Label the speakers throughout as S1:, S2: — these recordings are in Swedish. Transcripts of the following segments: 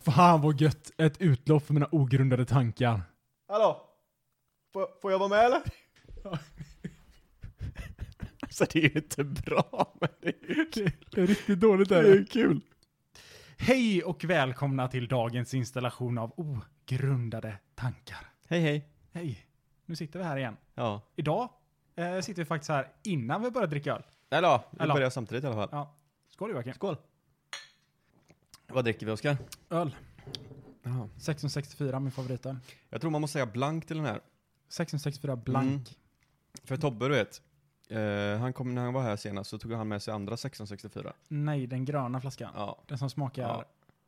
S1: Fan vad gött. Ett utlopp för mina ogrundade tankar.
S2: Hallå? Får, får jag vara med eller?
S3: Alltså det är ju inte bra, men det är ju kul.
S1: Det är riktigt dåligt
S3: Det är ju kul.
S1: Hej och välkomna till dagens installation av ogrundade tankar.
S3: Hej hej.
S1: Hej. Nu sitter vi här igen.
S3: Ja.
S1: Idag eh, sitter vi faktiskt här innan vi börjar dricka öl.
S3: Eller ja, vi
S1: Eller.
S3: börjar samtidigt i alla fall.
S1: Ja. Skål Joakim.
S3: Skål. Vad dricker vi Oskar?
S1: Öl. 1664, min favoritöl.
S3: Jag tror man måste säga blank till den här.
S1: 1664 blank.
S3: För Tobbe du vet, eh, han kom, när han var här senast så tog han med sig andra 1664.
S1: Nej, den gröna flaskan.
S3: Ja.
S1: Den som smakar
S3: Ja.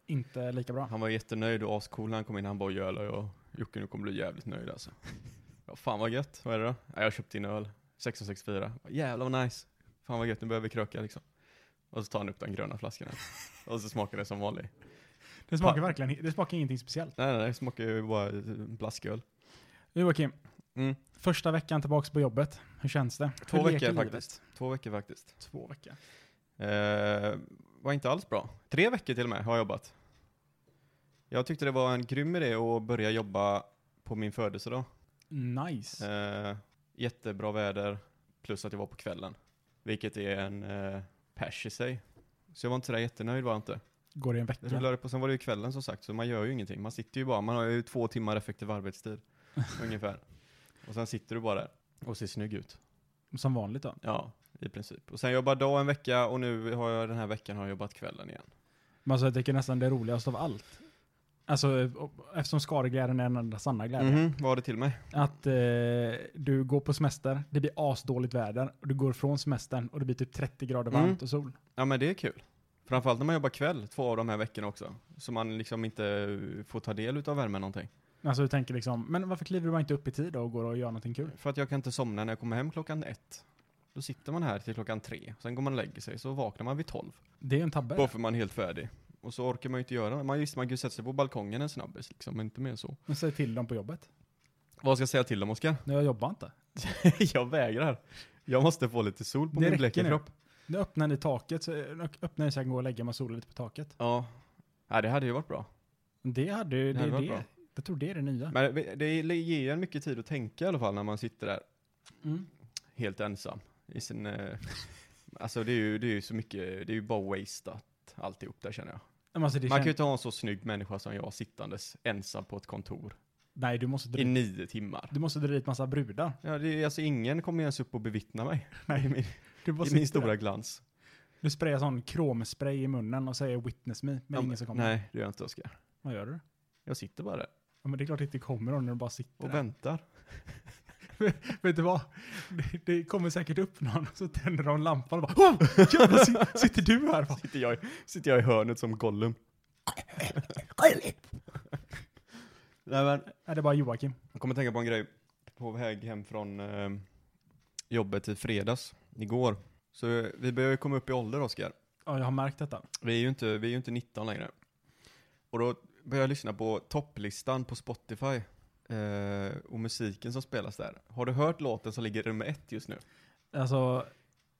S1: inte lika bra.
S3: Han var jättenöjd och ascool när han kom in. Han bara "Jöla, jag Jocke nu kommer bli jävligt nöjd alltså. Ja, fan vad gött. Vad är det då? Ja, jag köpte in öl. 1664. Jävlar vad nice. Fan vad gött, nu börjar vi kröka liksom. Och så tar han upp den gröna flaskan. här. och så smakar det som vanligt.
S1: Den smakar
S3: Ja.
S1: verkligen det smakar ingenting speciellt.
S3: Nej nej, nej, det smakar ju bara eh, blasköl.
S1: Joakim,
S3: Mm.
S1: första veckan tillbaka på jobbet. Hur känns det?
S3: Två
S1: Hur leker
S3: veckor
S1: livet?
S3: faktiskt. Två veckor faktiskt.
S1: Två veckor.
S3: Eh, var inte alls bra. Tre veckor till och med har jag jobbat. Jag tyckte det var en grym idé att börja jobba på min födelsedag.
S1: Nice.
S3: Eh, jättebra väder, plus att jag var på kvällen. Vilket är en eh, pers i sig. Så jag var inte sådär jättenöjd var jag inte.
S1: Går det en
S3: Det
S1: vecka?
S3: rullade på, sen var det ju kvällen som sagt, så man gör ju ingenting. Man sitter ju bara, man har ju två timmar effektiv arbetstid. ungefär. Och sen sitter du bara där och ser snygg ut.
S1: Som vanligt då.
S3: Ja, i princip. Och sen jobbar jag dag en vecka och nu har jag den här veckan har jag jobbat kvällen igen.
S1: Men alltså jag tycker nästan det roligaste av allt. Alltså eh, eftersom skadeglädjen är den enda sanna glädjen.
S3: Mhm, vad har det till mig?
S1: Att eh, du går på semester, det blir asdåligt väder, och du går från semestern och det blir typ 30 grader
S3: Mm.
S1: varmt och sol.
S3: Ja men det är kul. Framförallt när man jobbar kväll, två av de här veckorna också. Så man liksom inte eh, får ta del utav värmen någonting.
S1: Alltså du tänker liksom, men varför kliver du bara inte upp i tid då och går och gör någonting kul?
S3: För att jag kan inte somna när jag kommer hem klockan ett. Då sitter man här till klockan tre, sen går man och lägger sig, så vaknar man vid tolv.
S1: Det är ju en tabbe.
S3: Bara för man är helt färdig. Och så orkar man ju inte göra man, Visst, man kan ju sätta sig på balkongen en snabbis liksom, men inte mer än så.
S1: Men säg till dem på jobbet.
S3: Vad ska jag säga till dem Oskar?
S1: Nej, jag jobbar inte.
S3: jag vägrar. Jag måste få lite sol på
S1: Det
S3: min
S1: räcker
S3: bleka
S1: nu.
S3: kropp.
S1: Nu öppnar ni taket, så ö- öppnar ni så jag kan gå och lägga mig och sola lite på taket.
S3: Ja. Nej, det hade ju varit bra.
S1: Det hade ju,
S3: Det
S1: det,
S3: hade
S1: är
S3: varit
S1: det.
S3: bra.
S1: Jag tror det är det nya.
S3: Men det- det ger ju en mycket tid att tänka i alla fall när man sitter där
S1: Mm.
S3: helt ensam. I sin, eh, alltså det är, ju, det är ju så mycket, det är ju bara wasteat alltihop där känner jag.
S1: Men Alltså, det
S3: Man
S1: kän-
S3: kan ju inte ha en så snygg människa som jag sittandes ensam på ett kontor
S1: Nej, du måste, dra
S3: i
S1: dit,
S3: nio timmar.
S1: du måste dra dit massa brudar.
S3: Ja, det är, alltså ingen kommer ens upp och bevittna mig i min,
S1: Du bara
S3: i min
S1: sitter
S3: stora
S1: där.
S3: glans.
S1: Du sprayar sån kromspray i munnen och säger 'witness me' men
S3: Ja,
S1: ingen som kommer.
S3: Nej, det gör jag inte Oskar.
S1: Vad gör du?
S3: Jag sitter bara där
S1: Ja, men det är klart det inte kommer då när du bara sitter
S3: och
S1: där.
S3: väntar.
S1: Vet du vad? Det, det kommer säkert upp någon och så tänder de lampan och bara oh, jävlar, si- sitter du här? Bara,
S3: Sitter jag, i- sitter jag i hörnet som Gollum. Nej men,
S1: Nej, det är bara Joakim.
S3: Jag kommer tänka på en grej. På väg hem från eh, jobbet i fredags, igår. Så eh, vi börjar ju komma upp i ålder Oskar.
S1: Ja, jag har märkt detta.
S3: Vi är ju inte, vi är ju inte 19 längre. Och då började jag lyssna på topplistan på Spotify. Eh, och musiken som spelas där. Har du hört låten som ligger nummer ett just nu?
S1: Alltså,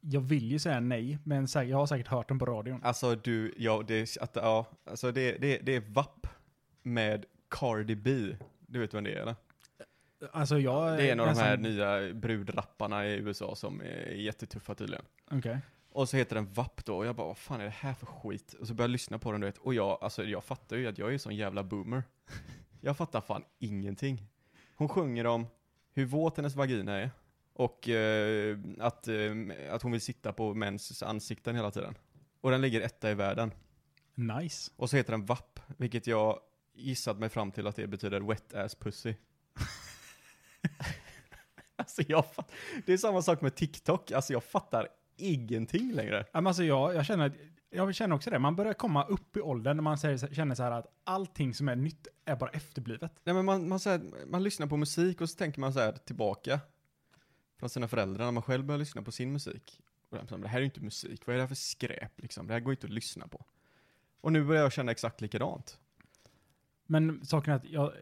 S1: jag vill ju säga nej, men sä- jag har säkert hört den på radion.
S3: Alltså du, ja, det, är- att, ja, alltså det, det, det är VAP med Cardi B. Du vet vem det är eller?
S1: Alltså jag...
S3: Det är en av de
S1: nästan-
S3: här nya brudrapparna i USA som är jättetuffa tydligen.
S1: Okej.
S3: Och så heter den VAP då, och jag bara vad fan är det här för skit? Och så började jag lyssna på den du vet, och jag, alltså, jag fattar ju att jag är en sån jävla boomer. Jag fattar fan ingenting. Hon sjunger om hur våt hennes vagina är, och eh, att, eh, att hon vill sitta på mäns ansikten hela tiden. Och den ligger etta i världen.
S1: Nice.
S3: Och så heter den VAP, vilket jag gissat mig fram till att det betyder wet ass pussy. alltså jag fatt, det är samma sak med TikTok, alltså jag fattar ingenting längre.
S1: Ja, men Alltså jag, jag känner att... Jag känner också det. Man börjar komma upp i åldern när man säger, känner så här att allting som är nytt är bara efterblivet.
S3: Nej men man, man, så här, man lyssnar på musik och så tänker man så här tillbaka från sina föräldrar när man själv börjar lyssna på sin musik. Och jag, det här är ju inte musik, vad är det här för skräp liksom? Det här går ju inte att lyssna på. Och nu börjar jag känna exakt likadant.
S1: Men saken är att jag,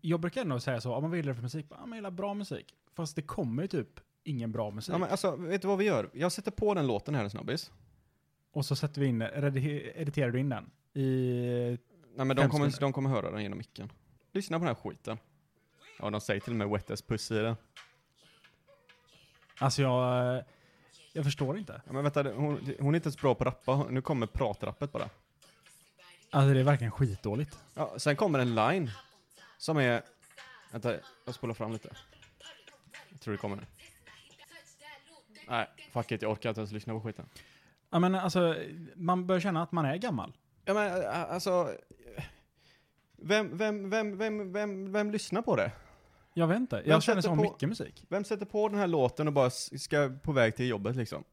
S1: jag brukar ändå säga så, om man vill det för musik, ja man gillar bra musik. Fast det kommer ju typ ingen bra musik.
S3: Ja, men alltså, vet du vad vi gör? Jag sätter på den låten här en snabbis.
S1: Och så sätter vi in, redi- editerar du in den i
S3: Nej men de
S1: Fem
S3: kommer,
S1: sekunder.
S3: de kommer höra den genom micken. Lyssna på den här skiten. Ja, de säger till och med wet as puss i den.
S1: Alltså jag... eh, Jag förstår inte.
S3: Ja, men vänta, det- hon, hon är inte ens bra på att rappa. Nu kommer pratrappet bara.
S1: Alltså det är verkligen skitdåligt.
S3: Ja, sen kommer en line som är... Vänta, jag spolar fram lite. Jag tror det kommer nu. Nej, fuck it, jag orkar inte ens lyssna på skiten.
S1: Ja men alltså, man börjar känna att man är gammal.
S3: Ja men ä- ä- alltså... Vem, vem, vem, vem, vem, vem lyssnar på det?
S1: Jag vet inte.
S3: Vem
S1: Jag känner så
S3: sätter på-
S1: mycket musik.
S3: Vem sätter på den här låten och bara s- ska på väg till jobbet liksom?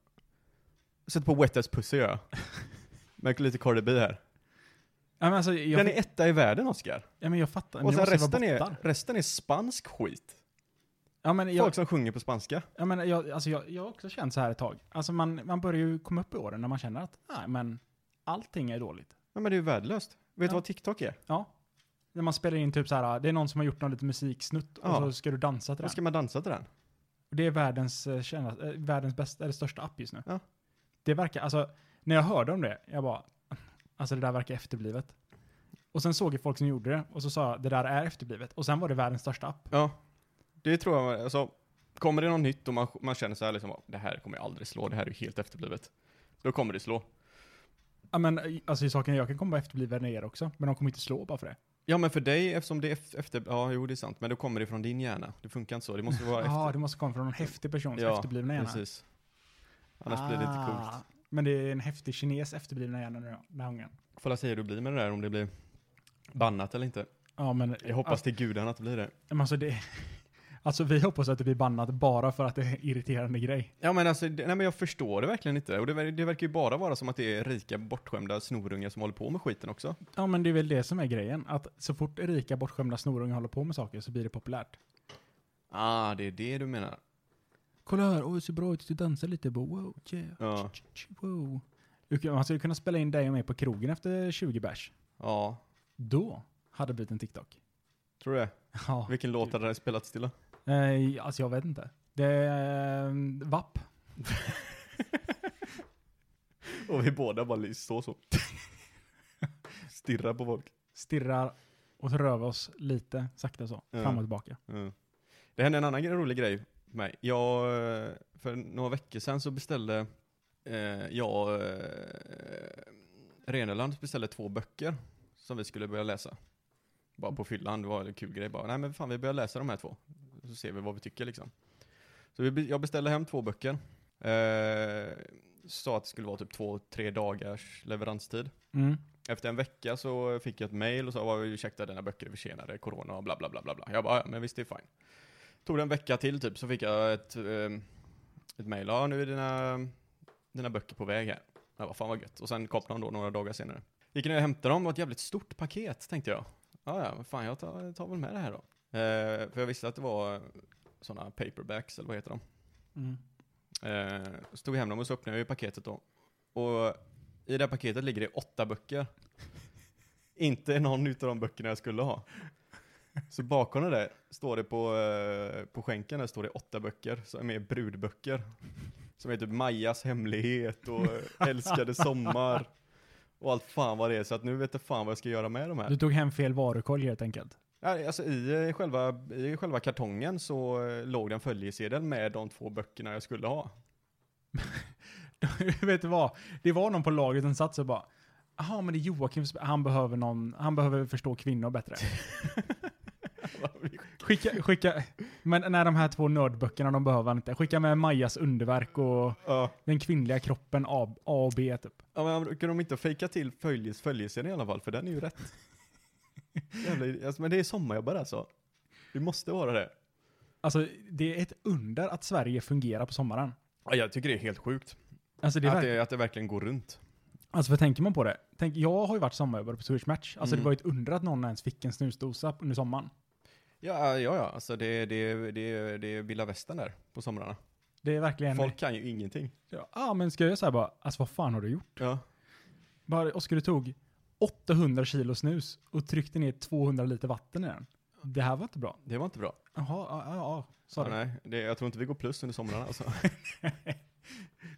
S3: Sätter på Wet As Pussy gör jag. Med lite Cardi B här.
S1: Ja, men alltså, jag,
S3: Den är etta i världen Oscar.
S1: ja, men jag fattar. Men
S3: Och sen
S1: jag måste vara
S3: resten är,
S1: bottar.
S3: resten är spansk skit.
S1: Ja, men jag,
S3: Folk som sjunger på spanska.
S1: ja, men jag, alltså, jag, jag har också känt så här ett tag. Alltså man, man börjar ju komma upp i åren när man känner att nej, men allting är dåligt.
S3: Ja, men det är ju värdelöst. Vet
S1: Ja.
S3: du vad TikTok är?
S1: Ja. När man spelar in typ så här, det är någon som har gjort någon liten musiksnutt och
S3: Ja.
S1: så ska du dansa till
S3: Då
S1: den.
S3: ska man dansa till den.
S1: Och det är världens, eh, tjäna, eh, världens bästa, eller största app just nu.
S3: Ja.
S1: Det verkar, alltså när jag hörde om det, jag bara, alltså det där verkar efterblivet. Och sen såg jag folk som gjorde det och så sa jag, det där är efterblivet. Och sen var det världens största app.
S3: Ja. Det tror jag, alltså, kommer det något nytt och man, man känner så här liksom, det här kommer jag aldrig slå, det här är ju helt efterblivet. Då kommer det slå.
S1: Ja men eh, alltså i saken, jag kan komma efterbliven er också, men de kommer inte slå bara för det.
S3: Ja men för dig, eftersom det är ef- efter, ja jo det är sant, men då kommer det från din hjärna. Det funkar inte så, det måste vara efter.
S1: Ja, det måste komma från en häftig persons
S3: Ja,
S1: efterblivna hjärna.
S3: Precis. Annars blir det inte
S1: Ah,
S3: coolt.
S1: Men det är en häftig kines efterblivna hjärna nu, den här gången.
S3: Får jag se hur det blir med det där, om det blir bannat eller inte.
S1: Ja men,
S3: Jag hoppas till gudarna att det blir det.
S1: Alltså, Men alltså det... Alltså vi hoppas att det blir bannat bara för att det är en irriterande grej.
S3: Ja men alltså, det, nej men jag förstår det verkligen inte. Och det, ver- det verkar ju bara vara som att det är rika bortskämda snorungar som håller på med skiten också.
S1: Ja men det är väl det som är grejen. Att så fort rika bortskämda snorungar håller på med saker så blir det populärt.
S3: Ah, det är det du menar.
S1: Kolla här, oj så bra ut, du dansar lite. Bo. Wow, yeah.
S3: Ja.
S1: Ch, ch, wow. Du kan- Man skulle kunna spela in dig och mig på krogen efter 20 bärs.
S3: Ja,
S1: Då hade det blivit en TikTok.
S3: tror du det?
S1: Ja.
S3: Vilken låt hade det spelats till då?
S1: Eh, alltså jag vet inte. Det är... eh, Vapp.
S3: Och vi båda bara står så. Stirrar på folk.
S1: Stirrar och rövar oss lite, sakta så.
S3: Ja.
S1: Fram och tillbaka.
S3: Mm. Det hände en annan gre- rolig grej för mig. Jag, eh, för några veckor sedan så beställde eh, jag, eh, Reneland beställde två böcker som vi skulle börja läsa. Bara på fyllan, det var en kul grej bara. Nej men fan vi börjar läsa de här två. Så ser vi vad vi tycker liksom. Så vi, be- jag beställde hem två böcker. Eh, sa att det skulle vara typ två, tre dagars leveranstid.
S1: Mm.
S3: Efter en vecka så fick jag ett mail och sa "Vad, ursäkta dina böcker är försenade, corona och bla bla bla bla bla. Jag bara, ja men visst det är fine. Tog det en vecka till typ så fick jag ett, ehm, ett mail, ja nu är dina, dina böcker på väg här. Jag bara, fan vad gött. Och sen kom de då några dagar senare. Gick ner och hämtade dem, det var ett jävligt stort paket tänkte jag. Ja ja, men fan jag tar, tar väl med det här då. Eh, för jag visste att det var sådana paperbacks eller vad heter de?
S1: Mm.
S3: Eh, så tog vi hem dem och så öppnade jag ju paketet då. Och i det här paketet ligger det åtta böcker. Inte någon utav de böckerna jag skulle ha. Så bakom det där står det på, eh, på skänken där står det åtta böcker som är brudböcker. Som är typ Majas hemlighet och eh, Älskade sommar. Och allt fan vad det är. Så att nu vet jag fan vad jag ska göra med de här.
S1: Du tog hem fel varukorg helt enkelt.
S3: Ja, Alltså i, eh, själva, I själva kartongen så eh, låg det en följesedel med de två böckerna jag skulle ha.
S1: vet du vad? Det var någon på laget som satt så bara Jaha, men det är Joakim som- han behöver någon, han behöver förstå kvinnor bättre. Skicka, skicka, men när de här två nördböckerna de behöver han inte. Skicka med Majas underverk och
S3: Ja.
S1: den kvinnliga kroppen A, A och B typ.
S3: Ja men kunde de inte fejka till följes följeserien i alla fall, för den är ju rätt. Jävla, alltså, men det är sommarjobbare alltså. Det måste vara det.
S1: Alltså det är ett under att Sverige fungerar på sommaren.
S3: Ja, jag tycker det är helt sjukt.
S1: Alltså, det är
S3: att,
S1: verk-
S3: det, att det verkligen går runt.
S1: alltså för tänker man på det, tänk, jag har ju varit sommarjobbare på Swedish Match. Alltså
S3: Mm.
S1: det var ju ett under att någon ens fick en snusdosa under sommaren.
S3: Ja, ja, ja. Alltså det, det, det, det är vilda västern där på somrarna.
S1: Det är verkligen...
S3: Folk kan ju ingenting.
S1: Ja, ah, men ska jag säga bara, alltså vad fan har du gjort?
S3: Ja.
S1: Bara, Oskar, du tog 800 kilo snus och tryckte ner 200 liter vatten i den. Det här var inte bra.
S3: Det var inte bra.
S1: Jaha, ja, ja, ja, sa
S3: Ja,
S1: du.
S3: nej, det, jag tror inte vi går plus under somrarna alltså.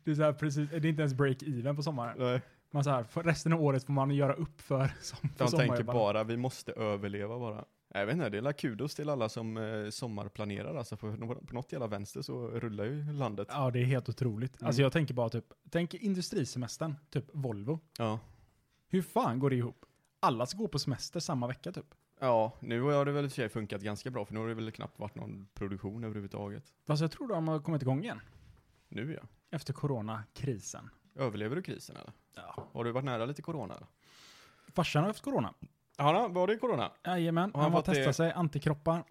S1: Det är, så här, precis, det är inte ens break-even på sommaren.
S3: nej.
S1: Man så här, för resten av året får man göra upp för, som, för
S3: De tänker
S1: sommarjobbarna.
S3: bara, vi måste överleva bara. Jag vet inte, det är la kudos till alla som eh, sommarplanerar alltså, för på- på något jävla vänster så rullar ju landet.
S1: Ja, det är helt otroligt. Alltså
S3: Mm.
S1: jag tänker bara typ, tänk industrisemestern, typ Volvo.
S3: Ja.
S1: Hur fan går det ihop? Alla ska gå på semester samma vecka typ.
S3: Ja, nu har det väl i och för sig funkat ganska bra, för nu har det väl knappt varit någon produktion överhuvudtaget.
S1: Fast jag tror de har kommit igång igen.
S3: Nu ja.
S1: Efter coronakrisen.
S3: Överlever du krisen eller?
S1: Ja.
S3: Har du varit nära lite corona eller?
S1: Farsan har haft corona.
S3: Har han, var det corona?
S1: Jajamän, han
S3: Har han
S1: har
S3: fått det-
S1: testat sig, antikroppar,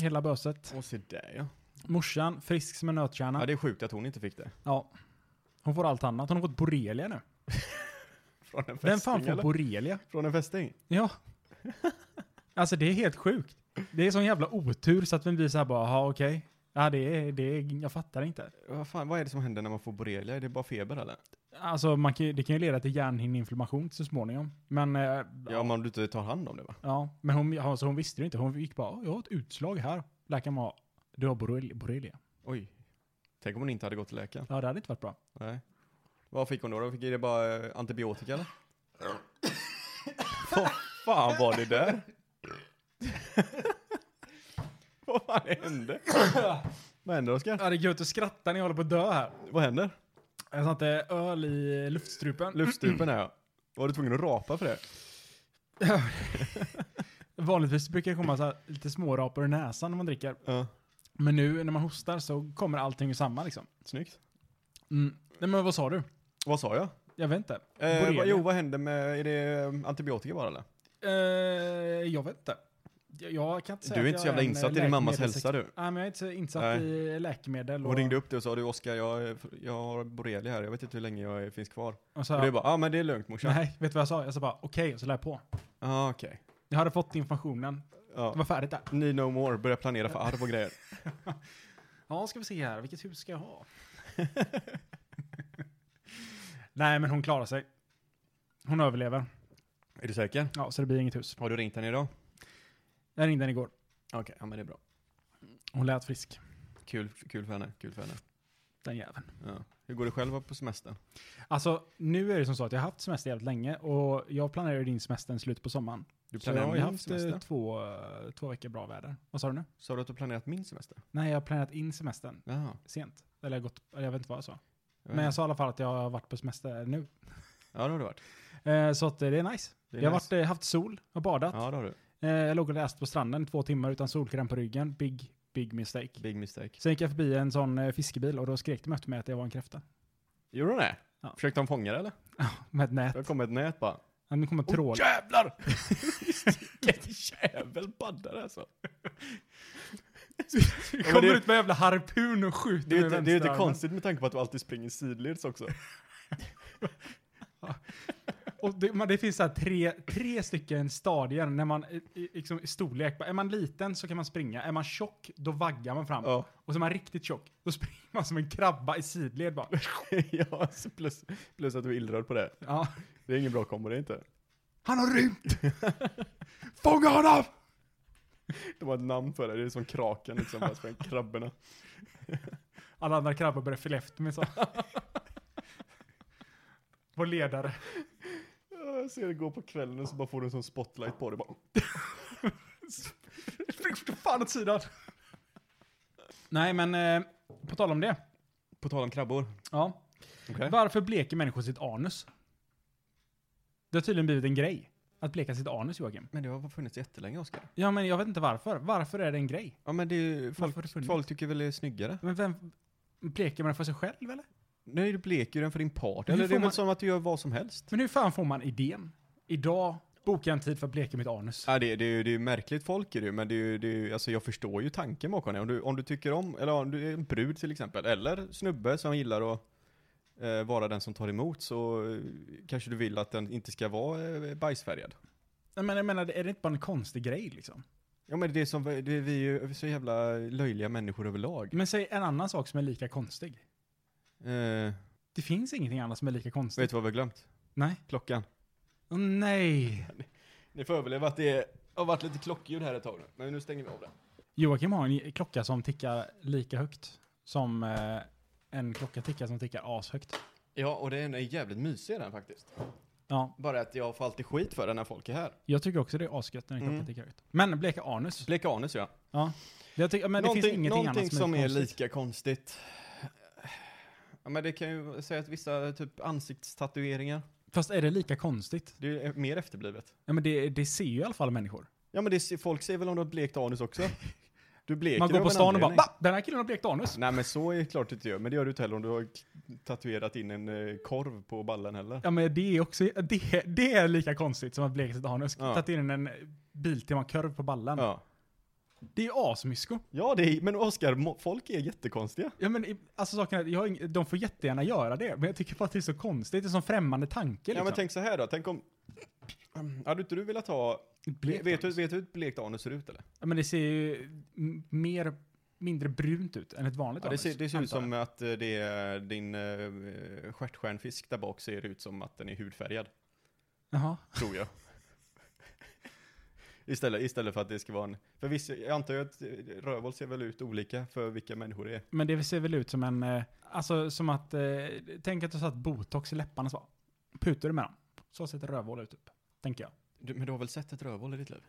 S1: hela böset.
S3: Åh, se där ja.
S1: Morsan, frisk som en
S3: Ja,
S1: nötkärna.
S3: det är sjukt att hon inte fick det.
S1: Ja. Hon får allt annat. Hon har fått borrelia nu.
S3: Från en fästing
S1: Vem fan får
S3: eller?
S1: borrelia?
S3: Från en fästing?
S1: Ja. Alltså det är helt sjukt. Det är sån jävla otur så att vi blir såhär bara, ja okej. Ja det är, det är, jag fattar inte.
S3: Vad fan, vad är det som händer när man får borrelia? Är det bara feber eller?
S1: Alltså man kan, ju- det kan ju leda till hjärnhinneinflammation så småningom. Men, eh, ja,
S3: Ja, om man inte tar hand om det va?
S1: ja, men hon, alltså, hon visste det inte. Hon gick bara, "Ja, jag har ett utslag här. Läkaren bara, du har borrel- borrelia.
S3: Oj. Tänk om hon inte hade gått till läkaren.
S1: Ja det hade inte varit bra.
S3: Nej. Vad fick hon då? då fick det bara eh, antibiotika eller? Vad fan var det där? Vad fan hände? Vad händer Oskar?
S1: Ja det är gött att skratta när jag håller på att dö här.
S3: Vad händer?
S1: Jag satte öl i luftstrupen.
S3: Luftstrupen är jag. Var du tvungen att rapa för det?
S1: Vanligtvis brukar det komma så här, lite smårapor i näsan när man dricker.
S3: Ja.
S1: Men nu när man hostar så kommer allting samman liksom.
S3: Snyggt.
S1: Mm. Nej men vad sa du?
S3: Vad sa jag?
S1: Jag vet inte.
S3: Eh,
S1: Borrelia.
S3: vad, jo, vad händer med, är det eh, antibiotika bara eller?
S1: Eh, jag vet inte. Jag, jag kan inte säga
S3: Du är
S1: att
S3: inte
S1: jag
S3: så jävla
S1: en
S3: insatt i din mammas
S1: läkemedels-
S3: hälsa du.
S1: Nej men jag är inte så insatt
S3: Nej.
S1: i läkemedel.
S3: Hon ringde upp dig och sa du Oskar, jag, jag har borrelia här, jag vet inte hur länge jag är- finns kvar.
S1: och sa,
S3: Och du bara, ja ah, men det är lugnt morsan. Ja
S1: Nej, vet du vad jag sa? Jag sa bara okej och så la jag på.
S3: ah, okej.
S1: Jag hade fått informationen.
S3: Ja.
S1: Det var färdigt där.
S3: Need no more, börja planera för arv och grejer.
S1: Ja, ska vi se här. Vilket hus ska jag ha? Nej men hon klarar sig. Hon överlever.
S3: Är du säker?
S1: Ja, så det blir inget hus.
S3: Har du ringt henne idag?
S1: Jag ringde henne igår.
S3: Okej, ja men det är bra.
S1: Hon lät frisk.
S3: Kul, kul för henne, kul för henne.
S1: Den jäveln.
S3: Ja. Hur går det själv på semestern?
S1: Alltså, nu är det som så att jag har haft semester jävligt länge och jag planerar din semester i slutet på sommaren.
S3: Du
S1: Så jag
S3: planerar
S1: har
S3: min
S1: ju haft eh,
S3: semester?
S1: två, eh, två veckor bra väder. Vad sa du nu?
S3: Sa du att du planerat min semester?
S1: Nej, jag har planerat in semestern
S3: Jaha.
S1: sent. Eller jag, har gått, eller jag vet inte vad jag sa.
S3: Jag vet
S1: Men jag
S3: inte.
S1: sa i alla fall att jag har varit på semester nu.
S3: Ja det har du varit.
S1: Eh, så att eh, det är nice.
S3: Det är
S1: jag har
S3: nice.
S1: varit, eh, haft sol, har badat.
S3: Ja det har du.
S1: Eh, jag låg och läste på stranden i två timmar utan solkräm på ryggen. Big, big mistake.
S3: Big mistake.
S1: Sen gick jag förbi en sån eh, fiskebil och då skrek de efter mig att jag var en kräfta.
S3: Gjorde hon det?
S1: Ja.
S3: Försökte de fånga det eller?
S1: Med ett nät.
S3: Det kom ett nät bara.
S1: Han kommer
S3: Åh
S1: tråla.
S3: jävlar! Vilken jävel baddar alltså.
S1: kommer
S3: men det-
S1: ut med en jävla harpun och skjuter
S3: Det är ju
S1: med
S3: inte, det är ju inte
S1: vänsterarmen.
S3: konstigt med tanke på att du alltid springer sidleds också.
S1: Och det, man, det finns så här tre, tre stycken stadier när man i- i- liksom, i storlek. Är man liten så kan man springa. Är man tjock, då vaggar man fram.
S3: Ja.
S1: Och så är man riktigt tjock, då springer man som en krabba i sidled bara.
S3: ja, så plus, plus att du är illröd på det.
S1: Ja.
S3: Det är ingen bra kombo det är inte.
S1: Han har rymt! Fånga honom!
S3: De har ett namn för det, det är som kraken liksom, bara sprang krabborna.
S1: Alla andra krabbor börjar följa efter mig så. Vår ledare.
S3: Ja, Jag ser det gå på kvällen och så bara får du en sån spotlight på dig. Bara,
S1: Spring för fan åt sidan! Nej men, eh, på tal om det.
S3: på tal om krabbor.
S1: Ja. Varför bleker människor sitt anus? Det har tydligen blivit en grej. Att bleka sitt anus, Joakim.
S3: Men det har funnits jättelänge Oskar.
S1: Ja, men jag vet inte varför. Varför är det en grej?
S3: Ja men det är ju, folk,
S1: Varför har det funnits?
S3: folk tycker väl det är snyggare.
S1: Men vem... Bleker man för sig själv, eller?
S3: Nej du bleker ju den för din partner.
S1: Hur
S3: Eller det
S1: får
S3: är väl
S1: man-
S3: som att du gör vad som helst.
S1: Men hur fan får man idén? Idag bokar jag en tid för att bleka mitt anus.
S3: Ja, det, det, är ju- det är ju märkligt folk är det ju, men det är ju, det är ju, alltså jag förstår ju tanken bakom det. Om du, om du tycker om, eller om du är en brud till exempel, eller snubbe som gillar att eh, vara den som tar emot, så eh, kanske du vill att den inte ska vara eh, bajsfärgad.
S1: Nej, men jag menar, är det inte bara en konstig grej, liksom?
S3: Ja men det är som, det är vi är ju så jävla löjliga människor överlag.
S1: Men säg en annan sak som är lika konstig.
S3: Eh,
S1: Det finns ingenting annat som är lika konstigt.
S3: vet du vad vi har glömt?
S1: Nej.
S3: Klockan.
S1: Åh, nej.
S3: Ni får överleva att det är, har varit lite klockljud här ett tag nu, men nu stänger vi av det.
S1: Joakim har en klocka som tickar lika högt som eh, en klocka tickar som tickar ashögt.
S3: Ja, och den är jävligt mysig den faktiskt.
S1: Ja,
S4: Bara att jag får alltid skit för det när folk är här.
S1: jag tycker också det är asgött när klockan
S4: Mm.
S1: tickar ut. Men bleka anus.
S4: Bleka anus ja.
S1: Jag tycker, men det finns ingenting
S4: någonting
S1: annat
S4: som är
S1: konstigt.
S4: lika konstigt. Ja, men det kan ju säga att vissa typ ansiktstatueringar,
S1: Fast är det lika konstigt?
S4: det är mer efterblivet.
S1: Ja, men det, det ser ju i alla fall människor.
S4: Ja men det, ser- folk säger väl om du har blekt anus också? Du bleker
S1: Man går
S4: av
S1: på
S4: en
S1: stan och bara
S4: anledning.
S1: "Va? Den här killen har blekt anus.
S4: Nej men så är det klart du inte gör, men det gör du inte heller om du har k- tatuerat in en eh, korv på ballen heller.
S1: Ja men det är också, det, det är lika konstigt som att bleka sitt anus.
S4: Ja.
S1: Tagit in en Biltema-korv på ballen.
S4: Ja,
S1: Det är ju asmysko.
S4: ja det är, men Oskar, må- folk är jättekonstiga.
S1: Ja men i- alltså saken är, att jag har ing- de får jättegärna göra det, men jag tycker bara att det är så konstigt. Det är som främmande tanke
S4: Ja
S1: liksom.
S4: men tänk så här då, tänk om... um, Hade inte du velat ha...
S1: Blekt
S4: vet, du,
S1: anus.
S4: vet du hur ett blekt anus ser ut eller?
S1: Ja men det ser ju m- mer, mindre brunt ut än ett vanligt
S4: Ja, det,
S1: anus.
S4: ser, det ser ut
S1: antar jag.
S4: som att eh, det är din eh, stjärtstjärnfisk där bak ser ut som att den är hudfärgad,
S1: Jaha.
S4: tror jag. istället, istället för att det ska vara en... För vissa, jag antar ju att eh, rövhål ser väl ut olika för vilka människor det är.
S1: Men det ser väl ut som en, eh, alltså som att, eh, tänk att du satt botox i läpparna så bara, putar du med dem. Så ser ett rövhål ut typ, tänker jag.
S4: Du, men du har väl sett ett rövhål i ditt liv?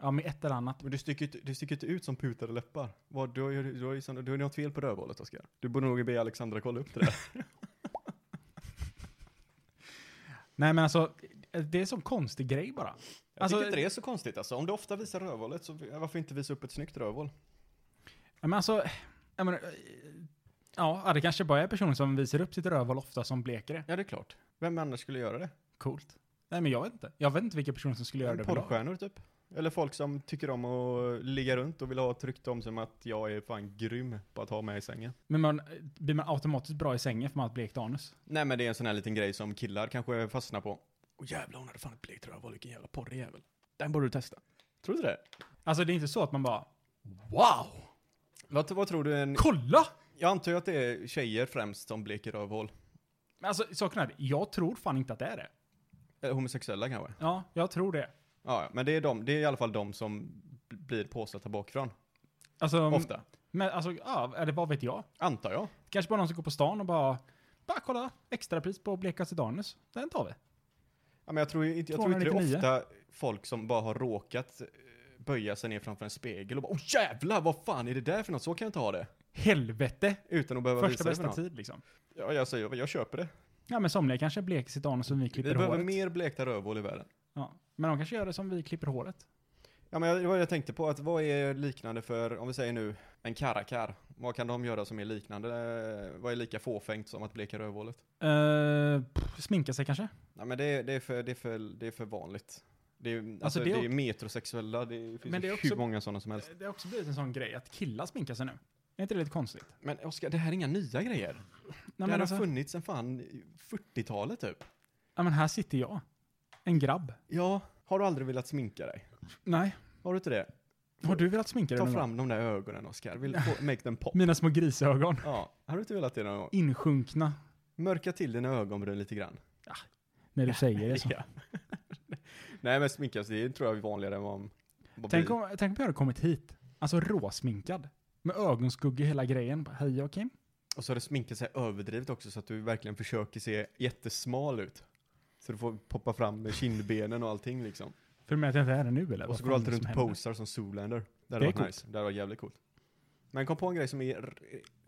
S1: Ja med ett eller annat.
S4: Men du sticker, inte- du sticker inte ut som putade läppar. Vad, du, har, ju- du, har, ju sån- du har ju något fel på rövhålet, Oskar. Du borde nog be Alexandra kolla upp det där.
S1: Nej men alltså, det är en sån konstig grej bara.
S4: Jag
S1: Alltså-
S4: tycker inte det är så konstigt alltså. Om du ofta visar rövhålet, så varför inte visa upp ett snyggt rövhål?
S1: Ja, men alltså, jag menar, eh, ja det kanske bara är personer som visar upp sitt rövhål ofta som bleker det.
S4: Ja, det är klart. Vem annars skulle göra det?
S1: Coolt. Nej men jag vet inte. Jag vet inte vilka personer som skulle göra det. överlag.
S4: Porrstjärnor typ. Eller folk som tycker om att ligga runt och vill ha tryckt om som att jag är fan grym på att ha med i sängen.
S1: Men man, blir man automatiskt bra i sängen för man har ett blekt anus?
S4: Nej men det är en sån här liten grej som killar kanske fastnar på. Åh jävlar hon hade fan ett blekt rövhål, vilken jävla porrig jävel. Den borde du testa. Tror du det?
S1: Alltså det är inte så att man bara,
S4: Wow! Vad, vad tror du en...
S1: kolla!
S4: Jag antar ju att det är tjejer främst som bleker rövhål.
S1: Men alltså saken är, jag tror fan inte att det är det.
S4: Eller homosexuella kanske.
S1: Ja, jag tror det.
S4: Ja, ja, men det är, de, det är i alla fall de som b- blir påsatta bakifrån.
S1: Alltså,
S4: Ofta.
S1: Men alltså, ja, eller vad vet jag?
S4: Antar jag.
S1: Kanske bara någon som går på stan och bara, bara kolla, extrapris på bleka sitt anus. Den tar vi.
S4: Ja, men jag tror ju inte, jag tror inte det är
S1: 299.
S4: ofta folk som bara har råkat eh, böja sig ner framför en spegel och bara Åh jävlar, vad fan är det där för något? Så kan jag inte ha det.
S1: Helvete!
S4: Utan att behöva
S1: Första
S4: visa det för
S1: bästa
S4: någon.
S1: tid liksom.
S4: Ja, jag säger, jag köper det.
S1: Ja men somliga kanske bleker sitt anus som vi
S4: Vi
S1: klipper
S4: behöver
S1: håret.
S4: mer blekta rövhål i världen.
S1: Ja. Men de kanske gör det som vi klipper håret.
S4: Ja, men jag, det var det jag tänkte på att vad är liknande för, om vi säger nu, en karakar. Vad kan de göra som är liknande? eh, Vad är lika fåfängt som att bleka rövhålet?
S1: Uh, sminka sig kanske?
S4: Nej, men det, det, är för, det, är för, det är för vanligt. Det är, alltså,
S1: det
S4: det
S1: är
S4: är,
S1: ok-
S4: metrosexuella, det finns
S1: Men det är
S4: ju
S1: också-
S4: hur många sådana som helst.
S1: Det har också blivit en sån grej att killar sminkar sig nu. Är inte det lite konstigt?
S4: Men Oskar, det här är inga nya grejer.
S1: Nej,
S4: det
S1: men
S4: har
S1: alltså,
S4: funnits sen fan 40-talet typ.
S1: ja, men här sitter jag. En grabb.
S4: Ja, har du aldrig velat sminka dig?
S1: Nej.
S4: Har du inte det?
S1: Har du velat sminka dig
S4: Ta
S1: någon gång?
S4: fram de där ögonen Oskar, vill få, make them pop.
S1: Mina små grisögon.
S4: Ja, har du inte velat det någon gång?
S1: Insjunkna.
S4: Mörka till dina ögonbryn lite grann.
S1: När du säger det så.
S4: Ja. Nej men sminkas, det är, tror jag är vanligare än vad... vad
S1: Tänk
S4: blir.
S1: om, tänk om jag hade kommit hit. Alltså råsminkad. Med ögonskugga i hela grejen. Bara, Hej jag Kim.
S4: Och så har du sminkat sig överdrivet också så att du verkligen försöker se jättesmal ut. Så du får poppa fram med kindbenen och allting liksom.
S1: För med att jag inte är det nu eller?
S4: Och
S1: Vad
S4: så går
S1: fan
S4: du alltid
S1: som
S4: runt och
S1: händer?
S4: posar som Zoolander.
S1: Det
S4: Det hade
S1: är
S4: varit
S1: coolt.
S4: nice. Det hade varit jävligt coolt. Men kom på en grej som är r-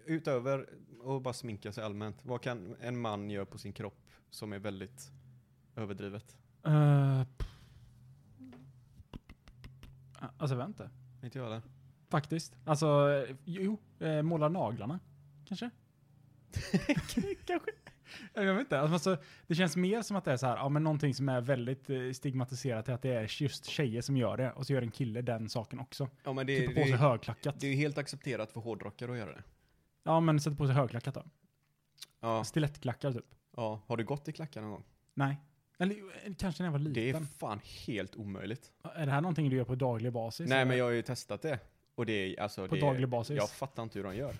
S4: utöver att bara sminka sig allmänt. Vad kan en man göra på sin kropp som är väldigt överdrivet?
S1: Eh, pff. alltså vänta.
S4: Inte jag det.
S1: Faktiskt. Alltså, eh, jo, eh, måla naglarna. Kanske?
S4: Kanske.
S1: Jag vet inte. Alltså, det känns mer som att det är så här, ja men någonting som är väldigt eh, stigmatiserat är att det är just tjejer som gör det och så gör en kille den saken också.
S4: Ja men det,
S1: Sätter
S4: det,
S1: Typ på sig
S4: är-
S1: högklackat.
S4: det är ju helt accepterat för hårdrockare att göra det.
S1: Ja men sätter på sig högklackat då.
S4: Ja.
S1: Stilettklackar typ.
S4: ja. Har du gått i klackar någon gång?
S1: Nej. Eller eh, kanske när jag var
S4: Det är
S1: liten.
S4: fan helt omöjligt.
S1: är... det här någonting du gör på daglig basis?
S4: Nej
S1: eller?
S4: men jag har ju testat det. Och det är alltså...
S1: På
S4: det är,
S1: daglig basis?
S4: jag fattar inte hur de gör.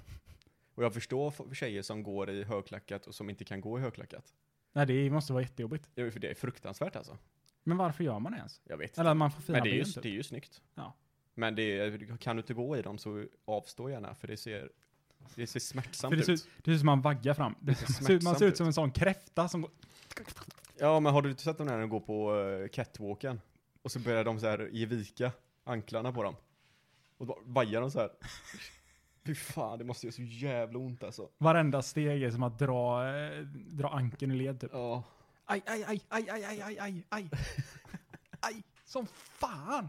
S4: Och jag förstår f- tjejer som går i högklackat och som inte kan gå i högklackat.
S1: Nej det måste vara jättejobbigt.
S4: Det är- för det är fruktansvärt alltså.
S1: Men varför gör man det ens?
S4: Jag vet
S1: Eller man får fina
S4: Men det är, ju,
S1: ben typ.
S4: det är ju snyggt.
S1: Ja.
S4: Men det är, kan du inte gå i dem så avstå gärna, för det ser, det ser smärtsamt
S1: För det ser,
S4: ut.
S1: ut- det ser ut som man vaggar fram. Det ser, man ser ut som en sån kräfta som går...
S4: Ja, men har du inte sett dem när de går på eh, catwalken? Och så börjar de så här ge vika anklarna på dem. Och då vajar de så här. Fy fan, det måste göra så jävla ont alltså.
S1: Varenda steg är som att dra, eh, dra ankeln i led typ.
S4: Ja.
S1: Aj, aj, aj, aj, aj, aj, aj, aj, aj. Aj, som fan.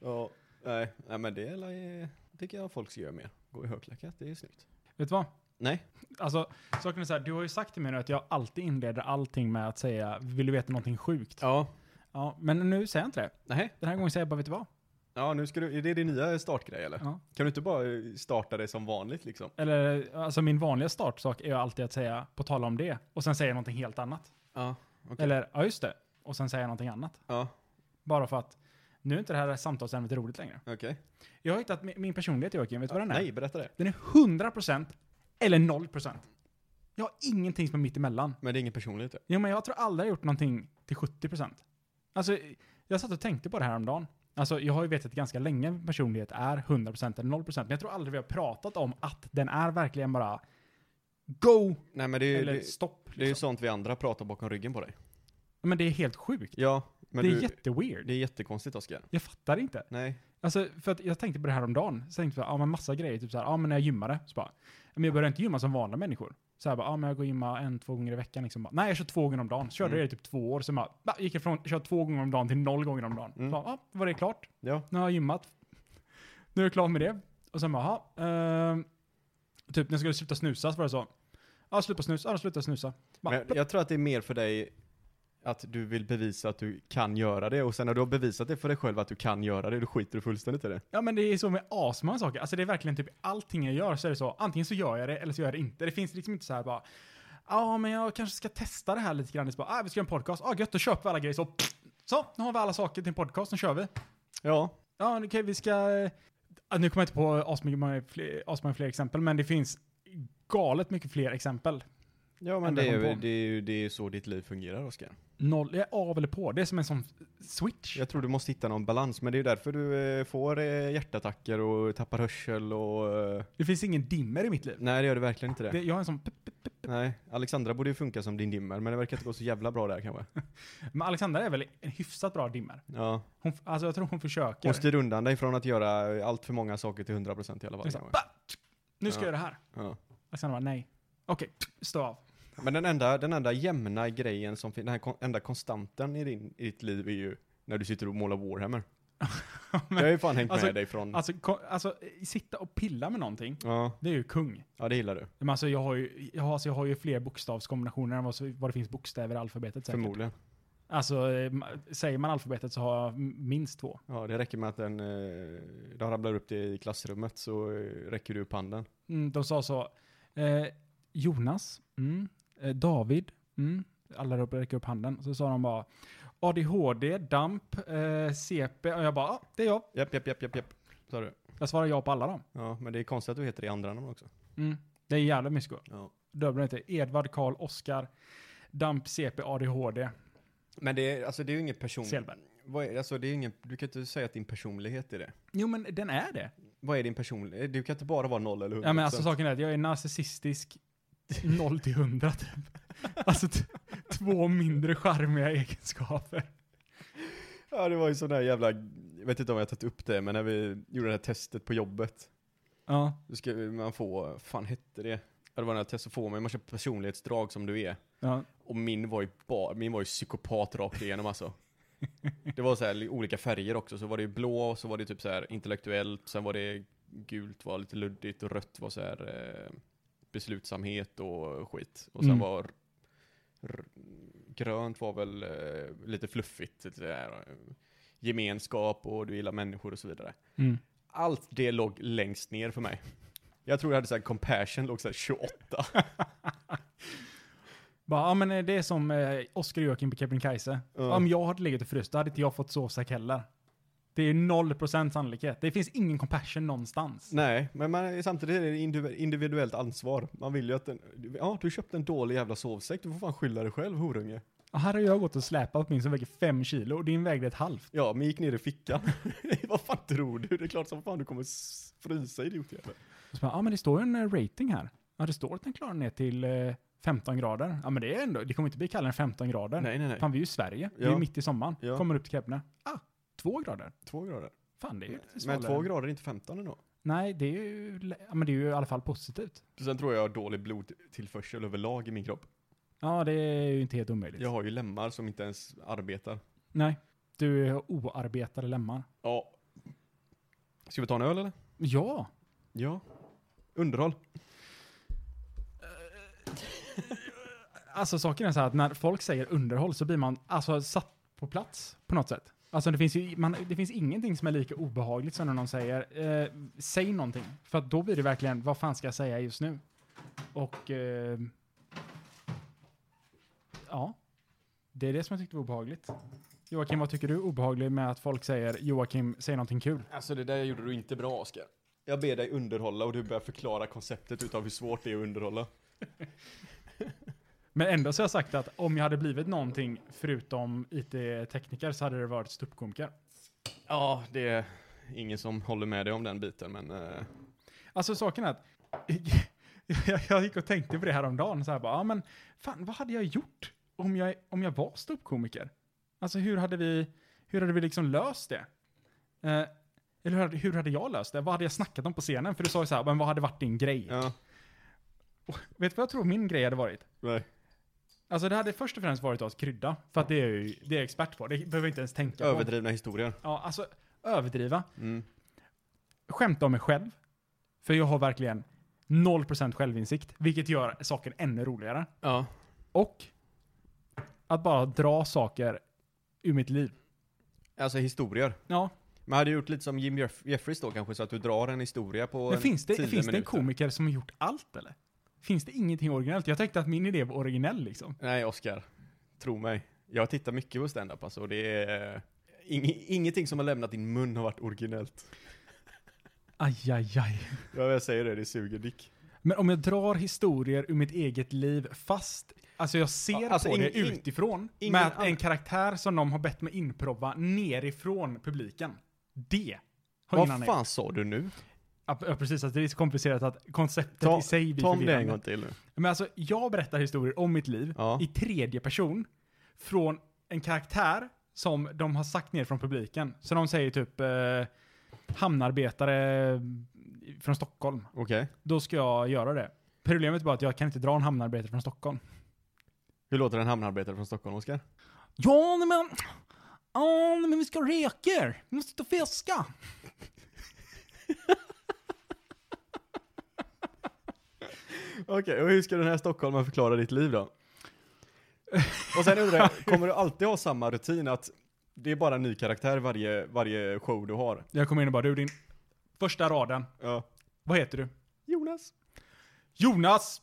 S4: Ja. Nej, nej men det är, la- eh, tycker jag folk ska göra mer. Gå i högklackat, det är snyggt.
S1: Vet du vad?
S4: Nej.
S1: Alltså, saken är så här, du har ju sagt till mig nu att jag alltid inleder allting med att säga vill du veta någonting sjukt? Ja.
S4: Ja.
S1: men nu säger jag inte det.
S4: Nej.
S1: Den här gången säger jag bara vet du vad?
S4: Ja, nu ska du, är det din nya startgrej eller?
S1: Ja.
S4: Kan du inte bara eh, starta det som vanligt liksom?
S1: Eller alltså min vanliga startsak är ju alltid att säga på tal om det och sen säga någonting helt annat.
S4: Ja. Okej.
S1: Eller ja just det och sen säga någonting annat.
S4: Ja,
S1: Bara för att nu är inte det här samtalsämnet roligt längre.
S4: okej.
S1: Jag har hittat mi- min personlighet Joakim, vet du vad den är?
S4: Nej, berätta det.
S1: Den är 100% eller 0%. Jag har ingenting som är mitt emellan.
S4: Men det är typ. ingen personlighet det.
S1: Jo, men jag tror aldrig jag har gjort någonting till 70%. Alltså, jag satt och tänkte på det här om dagen. Alltså, jag har ju vetat ganska länge vad personlighet är 100% eller 0%, men jag tror aldrig vi har pratat om att den är verkligen bara go
S4: Nej men det är,
S1: eller
S4: det,
S1: stopp.
S4: det är ju
S1: liksom.
S4: sånt vi andra pratar bakom ryggen på dig.
S1: Men det är helt sjukt.
S4: Ja, men
S1: det är
S4: du,
S1: jätteweird.
S4: det är jättekonstigt Oskar.
S1: Jag fattar inte.
S4: Nej.
S1: Alltså, för att jag tänkte på det här om dagen. Så tänkte jag, ja men massa grejer. Typ såhär, ja men när jag gymmade. Så bara, ja, men jag började inte gymma som vanliga människor. Så här bara, ja men jag går och gymmar en, två gånger i veckan liksom. Bara, Nej, jag kör två gånger om dagen. Så körde
S4: Mm.
S1: jag det i typ två år. Sen bara, va, gick jag från kör två gånger om dagen till noll gånger om dagen.
S4: Mm.
S1: Så bara, ja, var det klart.
S4: Ja.
S1: Nu har jag gymmat. Nu är jag klar med det. Och sen bara, jaha. ehm, typ när jag skulle sluta snusa så var det så. Ja, sluta snusa, ja, sluta snusa. Bara,
S4: Men jag, jag tror att det är mer för dig att du vill bevisa att du kan göra det och sen när du har bevisat det för dig själv att du kan göra det, då skiter du fullständigt i det.
S1: Ja men det är så med asmånga saker. Alltså det är verkligen typ allting jag gör så är det så. Antingen så gör jag det eller så gör jag det inte. Det finns liksom inte så här bara. Ja men jag kanske ska testa det här lite grann. Det är så bara, ah, vi ska göra en podcast. Ah, gött, då köper vi alla grejer så. Så, nu har vi alla saker till en podcast, nu kör vi.
S4: Ja.
S1: Ja okej vi ska. Ah, nu kommer jag inte på asmånga fler, asmånga fler exempel men det finns galet mycket fler exempel.
S4: Ja men
S1: Ändra
S4: det är,
S1: från
S4: ju-
S1: på.
S4: det, är, ju- det är ju så ditt liv fungerar Oskar.
S1: Noll, ja, av eller på. Det är som en sån switch.
S4: Jag tror du måste hitta någon balans, men det är ju därför du eh, får eh, hjärtattacker och tappar hörsel och... Eh,
S1: Det finns ingen dimmer i mitt liv.
S4: nej det gör det verkligen inte det.
S1: Det, jag har en sån pip, pip, pip.
S4: Nej, Alexandra borde ju funka som din dimmer, men det verkar inte gå så jävla bra där kanske.
S1: Men Alexandra är väl en hyfsat bra dimmer.
S4: Ja.
S1: Hon, f- alltså jag tror hon försöker.
S4: Hon styr undan dig från att göra allt för många saker till 100% i alla fall.
S1: Exakt.
S4: kanske.
S1: Bah! Nu ska
S4: Ja.
S1: jag göra det här.
S4: Ja.
S1: Alexander bara, nej. Okej, stå av.
S4: Men den enda, den enda jämna grejen som finns, den här kon- enda konstanten i, din, i ditt liv är ju när du sitter och målar Warhammer. Det har ju fan hängt
S1: alltså-
S4: med dig från...
S1: Alltså, ko- alltså, eh, sitta och pilla med någonting,
S4: ja,
S1: det är ju kung.
S4: ja, det gillar du.
S1: Men alltså, jag har ju, jag har, alltså, jag har ju fler bokstavskombinationer än vad, så- vad det finns bokstäver i alfabetet säkert.
S4: Förmodligen.
S1: Alltså, eh, ma- säger man alfabetet så har jag m- minst två.
S4: Ja, det räcker med att den, eh, de ramlar upp det i klassrummet så eh, räcker du upp handen.
S1: Mm, de sa så, eh, Jonas, mm, eh, David, mm, alla räcker upp handen. Så sa de bara, ADHD, DAMP, eh, CP, och jag bara, ah, det är jag.
S4: Japp, japp, japp, japp, japp. Sa du.
S1: Jag svarar ja på alla dem.
S4: Ja, men det är konstigt att du heter det i andra namn också.
S1: Mm. Det är jävligt mysko.
S4: Ja.
S1: Dubbeln heter Edvard Karl Oskar Damp CP ADHD.
S4: Men det är, alltså det är ju ingen person...
S1: Selberg.
S4: Vad är, alltså det är ingen, du kan inte säga att din personlighet är det.
S1: Jo men den är det.
S4: Vad är din personlighet? Du kan inte bara vara noll eller hundra.
S1: Ja men alltså saken är att jag är narcissistisk 0 till 100 typ. Alltså t- två mindre charmiga egenskaper.
S4: Ja, det var ju sån där jävla, jag vet inte om jag har tagit upp det, men när vi gjorde det här testet på jobbet,
S1: Ja.
S4: då ska man få, fan hette det? Ja, det var den här testet, får man en massa personlighetsdrag som du är.
S1: ja.
S4: Och min var ju bara, min var ju psykopat rakt igenom alltså. Det var så här li- olika färger också, så var det ju blå, och så var det typ så här intellektuellt, sen var det gult var lite luddigt och rött var så här eh, beslutsamhet och skit. Och sen
S1: Mm.
S4: var r- grönt var väl eh, lite fluffigt, lite så här, eh, gemenskap och du gillar människor och så vidare.
S1: Mm.
S4: Allt det låg längst ner för mig. Jag tror jag hade så här compassion låg så här 28.
S1: Bara, ja men eh, det är som eh, Oskar och Joakim på Kebnekaise.
S4: Ja.
S1: Om jag hade legat och fryst, då hade inte jag fått sovsäck heller. Det är 0% sannolikhet. Det finns ingen compassion någonstans.
S4: Nej, men man, samtidigt är det indiv- individuellt ansvar. Man vill ju att den, ja du köpte en dålig jävla sovsäck, du får fan skylla dig själv horunge.
S1: Och här har jag gått och släpat på min som väger 5 kilo och din vägde ett halvt.
S4: Ja, men gick ner i fickan. Vad fan tror du? Det är klart som fan du kommer s- frysa idiotjävel.
S1: Och så bara, ja ah, men det står ju en eh, rating här. Ja det står att den klarar ner till eh, 15 grader. Ja men det är ändå, det kommer inte bli kallare än 15 grader.
S4: Nej, nej, nej.
S1: Fan vi är ju i Sverige, vi är
S4: Ja.
S1: mitt i sommaren.
S4: Ja.
S1: Kommer upp till Kebne. Ah, två grader.
S4: Två grader.
S1: Fan det är ju lite
S4: Men
S1: svalare.
S4: två grader är inte 15 ändå.
S1: Nej, det är ju, ja, men det är ju i alla fall positivt.
S4: Sen tror jag jag har dålig blodtillförsel överlag i min kropp.
S1: Ja, det är ju inte helt omöjligt.
S4: Jag har ju lemmar som inte ens arbetar.
S1: Nej, du är oarbetade lemmar.
S4: Ja. Ska vi ta en öl eller?
S1: Ja,
S4: Ja. Underhåll.
S1: Eh, alltså saken är så här att när folk säger underhåll så blir man alltså satt på plats på något sätt. Alltså det finns ju, man, det finns ingenting som är lika obehagligt som när någon säger eh, säg någonting. För att då blir det verkligen, vad fan ska jag säga just nu? Och eh, ja, det är det som jag tyckte var obehagligt. Joakim, vad tycker du är obehagligt med att folk säger Joakim, säg någonting kul?
S4: Alltså det där gjorde du inte bra Oskar. Jag ber dig underhålla och du börjar förklara konceptet utav hur svårt det är att underhålla.
S1: Men ändå så har jag sagt att om jag hade blivit någonting förutom IT-tekniker så hade det varit ståuppkomiker.
S4: Ja, det är ingen som håller med dig om den biten men... eh,
S1: Alltså saken är att jag, jag gick och tänkte på det här om dagen så här bara, ja men fan vad hade jag gjort om jag, om jag var ståuppkomiker? Alltså hur hade vi, hur hade vi liksom löst det? Eh, eller hur hade, hur hade jag löst det? Vad hade jag snackat om på scenen? För du sa ju så här, men vad hade varit din grej?
S4: ja.
S1: Vet du vad jag tror min grej hade varit?
S4: Nej.
S1: Alltså det hade först och främst varit att krydda, för att det är jag ju, det är jag expert på, det behöver jag inte ens tänka på.
S4: Överdrivna historier.
S1: Ja, alltså överdriva.
S4: Mm.
S1: Skämta om mig själv. För jag har verkligen 0% självinsikt, vilket gör saken ännu roligare.
S4: Ja.
S1: Och att bara dra saker ur mitt liv.
S4: Alltså historier.
S1: Ja,
S4: Men hade du gjort lite som Jim Jeff- Jeffries då kanske, så att du drar en historia på
S1: men
S4: en
S1: finns det,
S4: 10
S1: finns det en
S4: minuter?
S1: komiker som har gjort allt eller? Finns det ingenting originellt? Jag tänkte att min idé var originell liksom.
S4: Nej, Oskar. Tro mig. Jag tittar mycket på stand-up alltså, och det är... ing- ingenting som har lämnat din mun har varit originellt.
S1: Aj, aj, aj.
S4: Ja, jag säger det, det suger dick.
S1: Men om jag drar historier ur mitt eget liv fast, alltså jag ser
S4: Ja, alltså
S1: på det
S4: ingen- in-
S1: utifrån,
S4: ingen
S1: med att en
S4: annan-
S1: karaktär som de har bett mig inprova nerifrån publiken. Det har ingen
S4: Vad
S1: annan
S4: fan sa du nu?
S1: Ja, p- ja, precis, alltså det är så komplicerat att konceptet
S4: Ta,
S1: i sig blir
S4: ta om det en
S1: förvirrande.
S4: gång till nu.
S1: Men alltså, jag berättar historier om mitt liv
S4: Ja.
S1: i tredje person från en karaktär som de har sagt ner från publiken. Så de säger typ eh, hamnarbetare från Stockholm
S4: Okej.
S1: då ska jag göra det. Problemet är bara att jag kan inte dra en hamnarbetare från Stockholm.
S4: Hur låter en hamnarbetare från Stockholm, Oskar?
S1: Ja, nej men... Ja, nej men vi ska ha reker. Vi måste ut och fiska.
S4: Okej, och hur ska den här stockholmaren förklara ditt liv då? Och sen undrar jag, kommer du alltid ha samma rutin att det är bara en ny karaktär varje, varje show du har?
S1: Jag kommer in och bara, du din första raden.
S4: Ja.
S1: Vad heter du?
S4: Jonas,
S1: Jonas!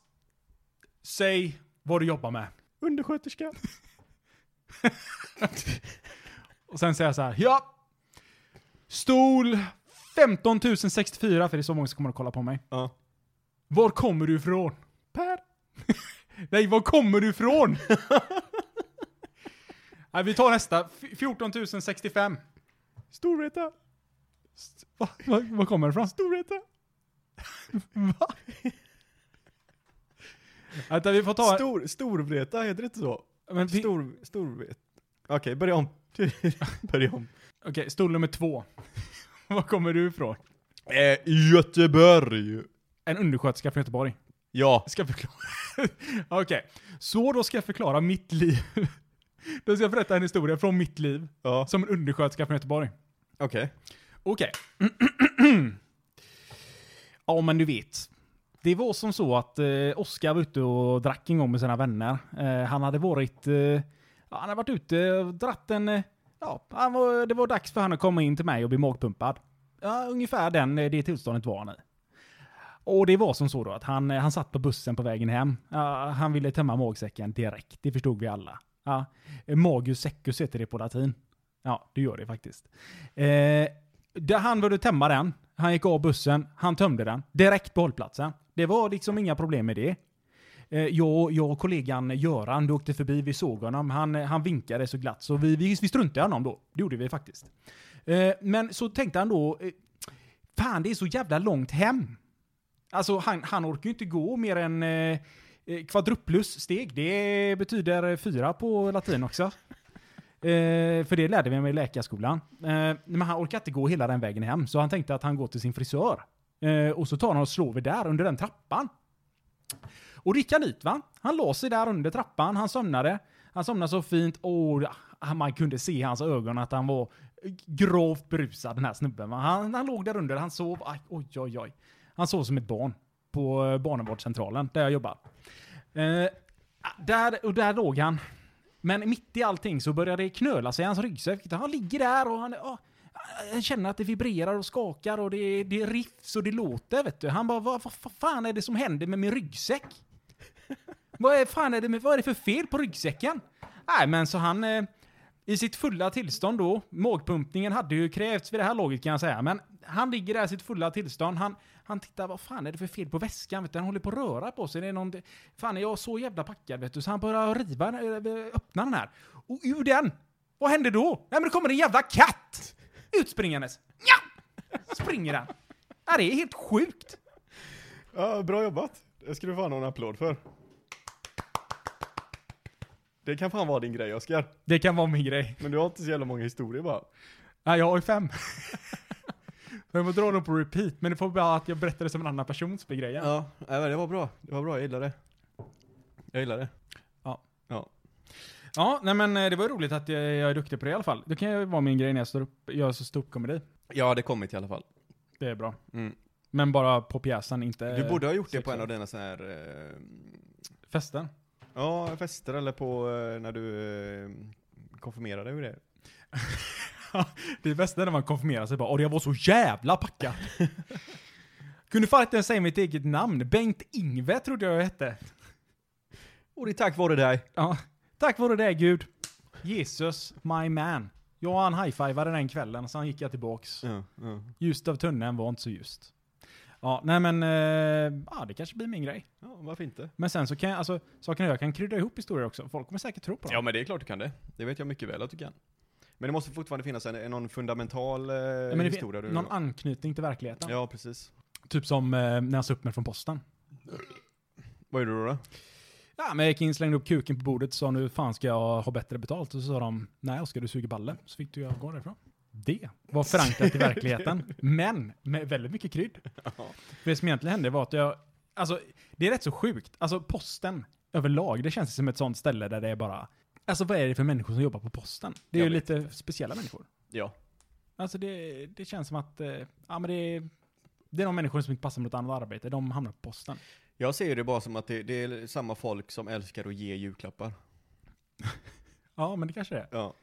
S1: Säg vad du jobbar med.
S4: undersköterska.
S1: Och sen säger jag så här, ja! Stol 15 064, för det är så många som kommer att kolla på mig.
S4: Ja.
S1: Var kommer du ifrån? Per. Nej, var kommer du ifrån? Nej, vi tar nästa. F- 14 065.
S4: Storvreta.
S1: Va? Va? Var kommer du ifrån? Storvreta. Va? Vänta, vi får ta...
S4: Stor, Storvreta, heter det inte så?
S1: men vi,
S4: Stor, Storvreta. Okej, börja om. börja om.
S1: Okej, stol nummer två. var kommer du ifrån?
S4: Eh, Göteborg.
S1: En undersköterska från Göteborg.
S4: Ja.
S1: Ska jag förklara? Okej, så då ska jag förklara mitt liv. då ska jag berätta en historia från mitt liv.
S4: ja.
S1: Som en undersköterska från Göteborg.
S4: Okej.
S1: Okej. ja, men du vet. Det var som så att eh, Oskar var ute och drack en gång med sina vänner. Eh, han hade varit... Eh, ja, han hade varit ute och dratt en... Eh, ja, han var, det var dags för han att komma in till mig och bli magpumpad. Ja, ungefär den, eh, det tillståndet var han i. Och det var som så då att han, eh, han satt på bussen på vägen hem. Ja, han ville tömma magsäcken direkt, det förstod vi alla. Ja, magus secus heter det på latin. Ja, det gör det faktiskt. Eh, där han började tömma den. Han gick av bussen, han tömde den. Direkt på hållplatsen. Det var liksom inga problem med det. Eh, Jag, jag och kollegan Göran, du åkte förbi, vi såg honom. Han, han vinkade så glatt, så vi, vi, vi struntade i honom då. Det gjorde vi faktiskt. Eh, Men så tänkte han då, eh, fan det är så jävla långt hem. Alltså han, han orkar ju inte gå mer än eh, Eh, Kvadruplus steg, det betyder fyra på latin också. Eh, för det lärde vi mig i läkarskolan. Eh, men han orkade inte gå hela den vägen hem, så han tänkte att han går till sin frisör. Eh, och så tar han och slår vi där under den trappan. Och Rickard dit va? Han låg sig där under trappan, han somnade. Han somnade så fint och ja, man kunde se i hans ögon att han var grovt berusad den här snubben. va? Han, han låg där under, han sov, aj, oj oj oj. Han sov som ett barn på eh, barnavårdscentralen där jag jobbar. Eh, där, och där låg han. Men mitt i allting så började det knöla sig i hans ryggsäck. Han ligger där och han, ja, han känner att det vibrerar och skakar och det, det riffs och det låter. Vet du. Han bara, vad, vad, vad fan är det som händer med min ryggsäck? vad, är, fan är det, med- vad är det för fel på ryggsäcken? Nej, men så han... Eh, i sitt fulla tillstånd då, magpumpningen hade ju krävts vid det här laget kan jag säga, men han ligger där i sitt fulla tillstånd, han, han tittar vad fan är det för fel på väskan, vet du? han håller på att röra på sig, det är någon, fan är jag så jävla packad vet du, så han börjar riva, den- eh, öppna den här. Och ur den, vad händer då? Nej men det kommer en jävla katt! Utspringandes. Ja! Springer han. Ja, Det är helt sjukt.
S4: Ja, bra jobbat. Det ska du fan ha en applåd för. Det kan fan vara din grej, Oskar.
S1: Det kan vara min grej.
S4: Men du har inte så jävla många historier bara.
S1: Ja, jag har ju fem. Jag får dra dem på repeat, men det får bara att jag berättar det som en annan person som blir grejen.
S4: Ja, nej, men det var bra. Det var bra, jag gillar det. Jag gillar det.
S1: Ja, nej men eh, det var ju roligt att jag, jag är duktig på det i alla fall. Det kan ju vara min grej när jag står upp, gör så ståuppkomedi.
S4: Ja, det kommit i alla fall.
S1: Det är bra.
S4: Mm.
S1: Men bara på pjäsen, inte
S4: Du borde ha gjort det
S1: sex
S4: på en
S1: år.
S4: av dina sådana här, eh,
S1: festen.
S4: ja, fester eller på eh, när du eh, konfirmerade hur det är.
S1: Det är bästa när man konfirmerar sig bara, åh jag var så jävla packad. Kunde fan inte ens säga mitt eget namn. Bengt-Ingve trodde jag jag hette.
S4: Och det är tack vare dig.
S1: Ja. Tack vare det Gud. Jesus, my man. Jag och han high-fivade den kvällen, sen gick jag tillbaks.
S4: Ja, ja.
S1: Ljust av tunneln var inte så ljust. Ja, nej men, eh, ja, det kanske blir min grej.
S4: ja, varför inte?
S1: Men sen så kan jag, alltså, saken är jag kan krydda ihop historier också. Folk kommer säkert tro på dem.
S4: Ja, men det är klart du kan det. Det vet jag mycket väl att du kan. Men det måste fortfarande finnas en, en någon fundamental eh,
S1: Ja, men det fin-
S4: historia. Du,
S1: Någon anknytning till verkligheten.
S4: ja, precis.
S1: Typ som eh, när jag sa upp mig från posten.
S4: Vad gjorde du då?
S1: Ja, men jag gick in, slängde upp kuken på bordet och sa nu fan ska jag ha bättre betalt. Och så sa de, nej Oskar du suger balle. Så fick du jag gå därifrån. Det var förankrat i verkligheten. Men med väldigt mycket krydd. För det som egentligen hände var att jag, alltså det är rätt så sjukt. Alltså posten överlag, det känns som ett sånt ställe där det är bara, alltså vad är det för människor som jobbar på posten? Det är
S4: Jag
S1: ju
S4: vet
S1: lite speciella människor.
S4: Ja.
S1: Alltså det, det känns som att, eh, ja men det, det är de människor som inte passar mot annat arbete, de hamnar på posten.
S4: Jag ser det bara som att det, det är samma folk som älskar att ge julklappar.
S1: Ja men det kanske det är.
S4: Ja.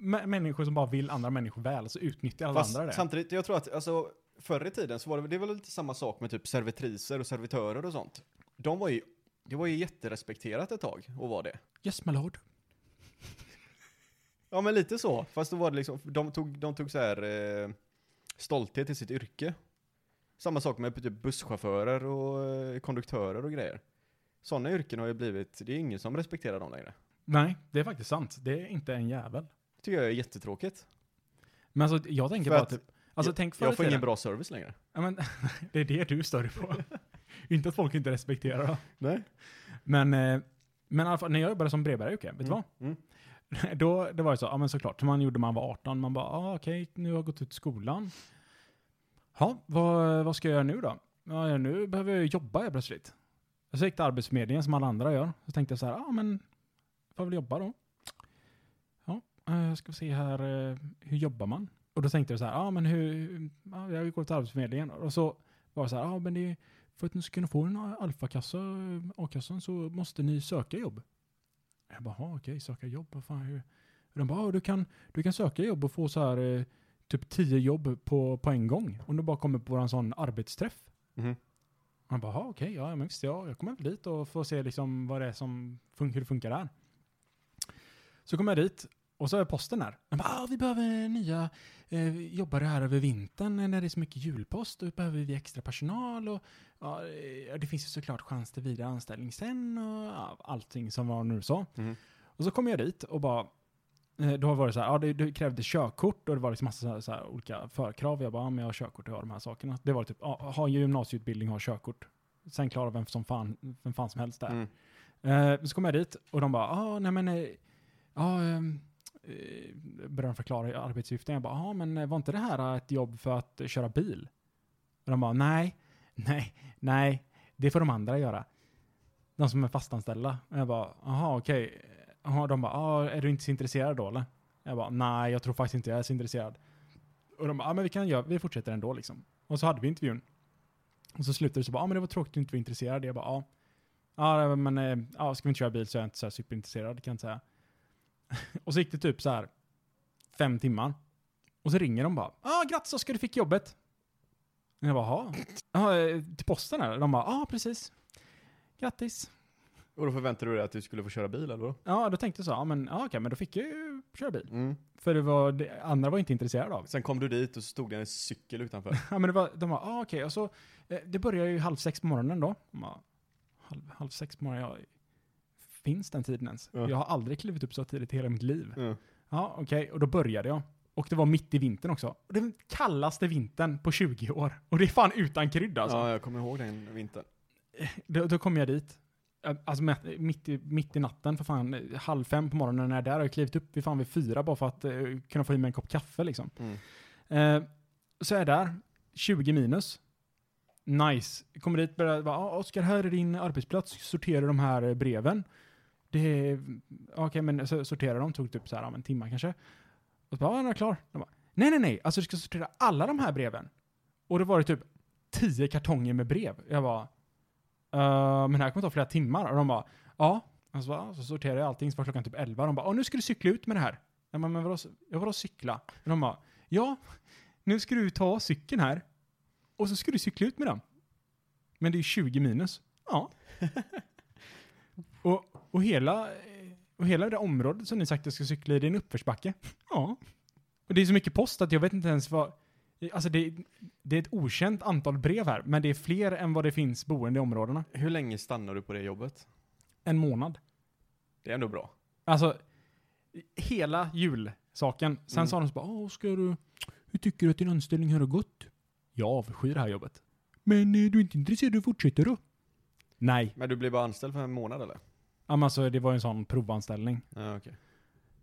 S1: Mä- Människor som bara vill andra människor väl, så utnyttjar alla
S4: Fast
S1: andra det.
S4: samtidigt, jag tror att alltså, förr i tiden så var det, det var väl lite samma sak med typ servitriser och servitörer och sånt. De var ju, det var ju jätterespekterat ett tag och var det.
S1: Yes my lord.
S4: Ja men lite så, fast då var det liksom, de tog, de tog så här eh, stolthet i sitt yrke. Samma sak med typ busschaufförer och eh, konduktörer och grejer. Sådana yrken har ju blivit, det är ingen som respekterar dem längre.
S1: Nej, det är faktiskt sant. Det är inte en jävel.
S4: Det tycker jag är jättetråkigt.
S1: Men alltså jag tänker
S4: För
S1: bara
S4: att
S1: typ, alltså tänk förr i
S4: Jag får ingen
S1: tiden.
S4: bra service längre.
S1: Ja, men, det är det du stör dig på. inte att folk inte respekterar det.
S4: Nej.
S1: Men, eh, men i alla fall, när jag jobbade som brevbärare Jocke, vet du vad?
S4: Mm.
S1: Då det var det så, ja men såklart, som man gjorde när man var 18. Man bara, ah, okej, nu har jag gått ut skolan. Ja, vad, vad ska jag göra nu då? Ja, ja, nu behöver jag ju jobba jag plötsligt. Så gick till Arbetsförmedlingen som alla andra gör. Så tänkte jag så här, ja ah, men, får väl jobba då. Ja, eh, jag ska se här, eh, hur jobbar man? Och då tänkte jag så här, ja ah, men hur, ja, jag går till Arbetsförmedlingen. Och så var det så här, ja ah, men det är ju för att ni ska kunna få en alfakassa, eh, a-kassan, så måste ni söka jobb. Jag bara, "Jaha, okej, söka jobb, vad fan hur? Och de bara, "Ja, du kan, du kan söka jobb och få så här eh, typ tio jobb på, på en gång. Om du bara kommer på en sån arbetsträff.
S4: Mhm.
S1: Man bara, "Ja, okej, ja men visst, ja, jag kommer väl dit och får se liksom vad det är som fun- hur det funkar där. Så kommer jag dit och så är posten där. De bara, "Ah, vi behöver nya eh, jobbare här över vintern eh, när det är så mycket julpost. Då behöver vi extra personal och ja, eh, det finns ju såklart chans till vidare anställning sen och ja, allting som var nu så.
S4: Mm.
S1: Och så kom jag dit och bara, eh, då var det så här, ja det, det krävde körkort och det var liksom massa så här, så här olika förkrav. Jag bara, ja, men jag har körkort och jag har de här sakerna. Det var typ, ja, ha gymnasieutbildning, ha körkort. Sen klarar vem som fan, vem fan som helst där.
S4: Mm.
S1: Eh, så kom jag dit och de bara, ah, nej men, eh, ja, ehm, eh, började de förklara arbetssyften. Jag bara, ah, men eh, var inte det här ett jobb för att eh, köra bil? Och de bara, nej, nej, nej, det får de andra göra. De som är fastanställda. Och jag bara, jaha okej. Okay. De bara, ah, är du inte så intresserad då eller? Jag bara, nej jag tror faktiskt inte jag är så intresserad. Och de bara, ah, men vi kan göra, vi fortsätter ändå liksom. Och så hade vi intervjun. Och så slutade det så bara, ah, men det var tråkigt att du inte var intresserad. Jag bara, ja. Ah. Ja, men eh, ja, ska vi inte köra bil så är jag inte så här superintresserad kan jag inte säga. och så gick det typ så här fem timmar. Och så ringer de bara, ah grattis Oskar du fick jobbet. Och jag bara, jaha. Ah, eh, till posten eller? De bara, ja ah, precis. Grattis.
S4: Och då förväntade du dig att du skulle få köra bil eller vadå?
S1: Ja, då tänkte jag så, ja men ja, okej, men då fick jag ju köra bil.
S4: Mm.
S1: För det var, det, andra var inte intresserade av.
S4: Sen kom du dit och så stod det en cykel utanför.
S1: Ja, men det var, de bara, ah, okej, och så, eh, det börjar ju halv sex på morgonen då. De bara, halv, halv sex på morgonen, jag, finns den tiden ens?
S4: Ja.
S1: Jag har aldrig klivit upp så tidigt i hela mitt liv.
S4: Mm.
S1: Ja, okej, och då började jag. Och det var mitt i vintern också. Och Den kallaste vintern på 20 år. Och det är fan utan krydda alltså.
S4: Ja, jag kommer ihåg den vintern.
S1: Då, då kom jag dit. Eh, Alltså mä- mitt i, mitt i natten, för fan, eh, halv fem på morgonen när jag är där har jag klivit upp vid fan vid fyra bara för att eh, kunna få i mig en kopp kaffe liksom.
S4: Mm.
S1: Eh, så är jag där, 20 minus. Nice. Kommer dit börjar bara, ah, Oskar här är din arbetsplats, sortera de här eh, breven. Det är, okej men så sortera dem, tog typ så här om en timme kanske. Och så bara, ah, den är klar. De bara, nej nej nej, alltså du ska sortera alla de här breven. Och då var det typ 10 kartonger med brev. Jag bara, Uh, men det här kommer ta flera timmar. Och de bara, ja. Och så, bara, "Ah, så sorterade jag allting, så var klockan typ 11. De bara, "Ja, nu ska du cykla ut med det här. Jag bara, men vadå, jag vadå cykla? Och de bara, ja, nu ska du ta cykeln här. Och så ska du cykla ut med den. Men det är 20 minus. Ja. och, och, hela, och hela det området som ni sagt att jag ska cykla i, det är en uppförsbacke. Ja. Och det är så mycket post att jag vet inte ens vad... Alltså det, det är ett okänt antal brev här, men det är fler än vad det finns boende i områdena.
S4: Hur länge stannar du på det jobbet?
S1: En månad.
S4: Det är ändå bra.
S1: Alltså, hela julsaken. Sen
S4: Mm.
S1: sa de så bara, "Åh, ska du, hur tycker du att din anställning här har gått? Jag avskyr det här jobbet. Men är du är inte intresserad, du fortsätter då? Nej.
S4: Men du blev bara anställd för en månad eller?
S1: Ja, men Alltså, det var ju en sån provanställning.
S4: Ja, okej.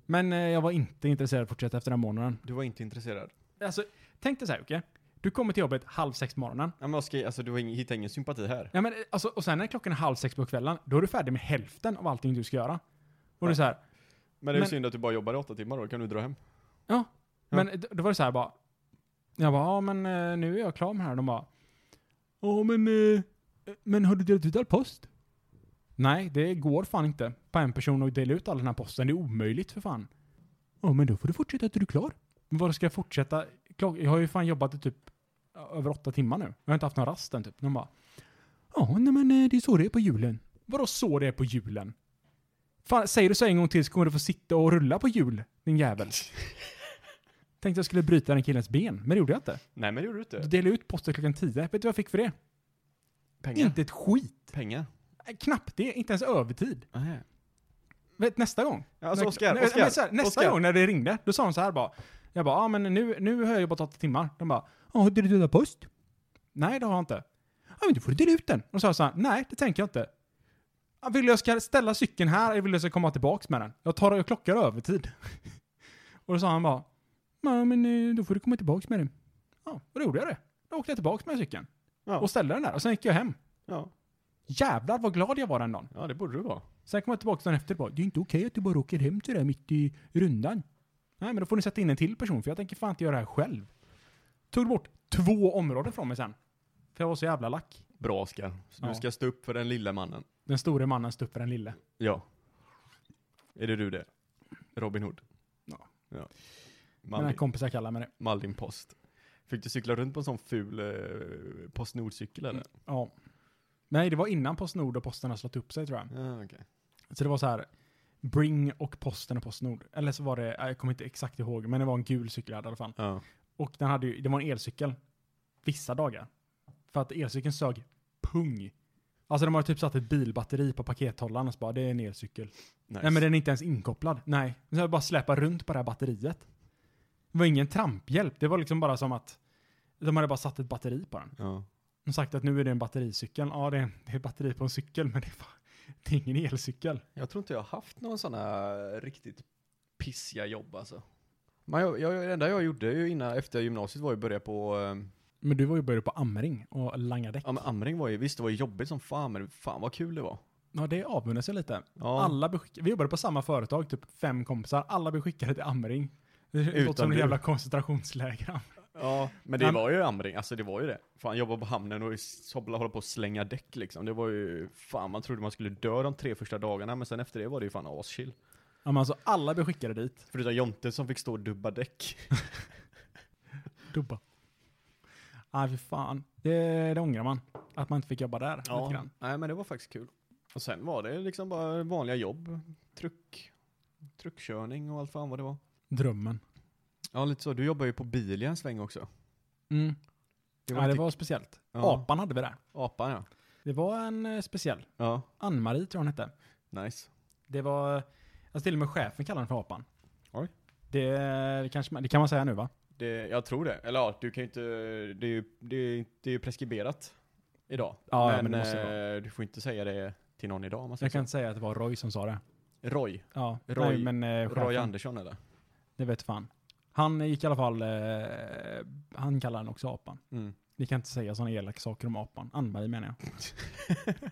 S1: Men eh, jag var inte intresserad av att fortsätta efter den här månaden.
S4: Du var inte intresserad?
S1: Alltså, tänk dig så här, Jocke. Du kommer till jobbet halv sex på morgonen.
S4: Ja, men Oskar, alltså du har ingen, hittade ingen sympati här?
S1: Ja, men, eh, alltså, och sen när klockan är halv sex på kvällen, då är du färdig med hälften av allting du ska göra. Och det är så här,
S4: Men det är
S1: Men-
S4: synd att du bara jobbade åtta timmar då, kan du dra hem?
S1: Men d- då var det så här bara. Jag bara, ja men eh, nu är jag klar med det här. De bara, ja men, eh, men har du delat ut all post? Nej, det går fan inte på en person att dela ut all den här posten. Det är omöjligt för fan. Ja men då får du fortsätta till du är klar. Men vadå ska jag fortsätta? Klock- Jag har ju fan jobbat i typ över åtta timmar nu. Jag har inte haft någon rast än typ. De bara, ja nej men eh, det är så det är på julen. Vadå så det är på julen? Fan, säger du så en gång till så kommer du få sitta och rulla på jul, din jävel. Tänkte jag skulle bryta den killens ben, men det gjorde jag inte.
S4: Nej, men det gjorde du
S1: Då
S4: inte.
S1: delade jag ut poster klockan 10. Vet du vad jag fick för det?
S4: Pengar?
S1: Inte ett skit.
S4: Pengar?
S1: Äh, Knappt det, inte ens övertid.
S4: Nej.
S1: Vet, nästa gång.
S4: Ja, alltså
S1: När-
S4: Oskar,
S1: när-
S4: Oskar,
S1: men så här, Nästa
S4: Oskar.
S1: gång när det ringde, då sa de så här bara. Jag bara, ja ah, men nu, nu har jag jobbat åtta timmar. De bara, ja har du delat post? Nej, det har jag inte. Ja men då får du dela ut den. Och så sa jag så här, nej det tänker jag inte. "Ja, Vill jag ska ställa cykeln här eller vill jag ska komma tillbaks med den? Jag tar och klockar övertid. och då sa han bara, nej men eh, då får du komma tillbaks med den. Ja, och då gjorde jag det. Då åkte jag tillbaks med cykeln.
S4: Ja.
S1: Och ställde den där och sen gick jag hem.
S4: Ja.
S1: Jävlar vad glad jag var den dagen.
S4: ja, det borde du vara.
S1: Sen kom jag tillbaka dagen efter och bara, det är inte okej att du bara åker hem till det här mitt i rundan. Nej, men då får ni sätta in en till person, för jag tänker fan inte göra det här själv. Tog bort två områden från mig sen. För jag var så jävla lack.
S4: Bra Oskar. Så
S1: Ja.
S4: Du ska stå upp för den lilla mannen.
S1: Den store mannen stod upp för den lille.
S4: Ja. Är det du det? Robin Hood?
S1: Ja.
S4: ja.
S1: Mina
S4: Malin,
S1: kompisar kallar mig det.
S4: Malin Post. Fick du cykla runt på en sån ful eh, Postnord-cykel eller?
S1: Ja. Nej, det var innan Postnord och Posten har slått upp sig tror jag.
S4: Ja, Ah, okej.
S1: Så det var så här, Bring och Posten och Postnord. Eller så var det, jag kommer inte exakt ihåg, men det var en gul cykel jag hade i alla fall.
S4: Ja.
S1: Och den hade ju, det var en elcykel. Vissa dagar. För att elcykeln sög pung. Alltså de har typ satt ett bilbatteri på pakethållaren och så bara, det är en elcykel.
S4: Nice.
S1: Nej men den är inte ens inkopplad. Nej. Så jag bara släpa runt på det här batteriet. Det var ingen tramphjälp. Det var liksom bara som att de hade bara satt ett batteri på den.
S4: Ja.
S1: De sagt att nu är det en battericykel. Ja det är, en, det är ett batteri på en cykel men det är, fan, till ingen elcykel.
S4: Jag tror inte jag har haft någon sån här riktigt pissiga jobb alltså. Men jag, jag, det enda jag gjorde ju innan, efter gymnasiet var ju att börja på, eh,
S1: Men du var ju började på Amring och langa däck.
S4: ja men Amring var ju, visst det var ju jobbigt som fan men fan vad kul det var.
S1: Ja, det avundas jag lite.
S4: Ja,
S1: Alla blev skick- vi jobbade på samma företag, typ fem kompisar. Alla blev skickade till Amring. Det låter
S4: Utom
S1: som en
S4: du.
S1: jävla koncentrationsläger.
S4: ja men det
S1: Am-
S4: var ju Amring, alltså det var ju det. Fan jobba på hamnen och s- hoppla- hålla på och slänga däck liksom. Det var ju, fan man trodde man skulle dö de tre första dagarna men sen efter det var det ju fan aschill.
S1: Ja, men alltså, alla blev skickade dit.
S4: Förutom Jonte som fick stå och dubba däck.
S1: Dubba. Nej, fy fan. Det, det ångrar man. Att man inte fick jobba där. Lite grann.
S4: nej men det var faktiskt kul. Och sen var det liksom bara vanliga jobb, truck, truckkörning och allt fan vad det var.
S1: Drömmen.
S4: Ja, lite så. Du jobbar ju på bil i en sväng också.
S1: Mm.
S4: Det
S1: ja, det
S4: lite-
S1: var speciellt.
S4: Ja.
S1: Apan hade vi där.
S4: Apan ja.
S1: Det var en eh, speciell.
S4: Ja,
S1: Ann-Marie tror jag hon hette.
S4: nice.
S1: Det var... Alltså till och med chefen kallade den för apan.
S4: Oj.
S1: Det, det, kanske, man- det kan man säga nu va?
S4: Det, jag tror det. Eller ja, du kan ju inte, det är ju, det är, ju- det är ju preskriberat idag.
S1: Ja,
S4: men,
S1: ja, men det måste det
S4: eh, du får inte säga det till någon idag om man säger
S1: Jag kan
S4: kan...
S1: inte säga att det var Roy som sa det.
S4: Roy.
S1: Ja, nej,
S4: Roy-
S1: men eh, chefen,
S4: Roy Andersson eller?
S1: det vet fan. Han gick i alla fall, eh, han kallar den också apan.
S4: Mm.
S1: Ni kan inte säga sådana elaka saker om apan. Ann-Marie menar jag.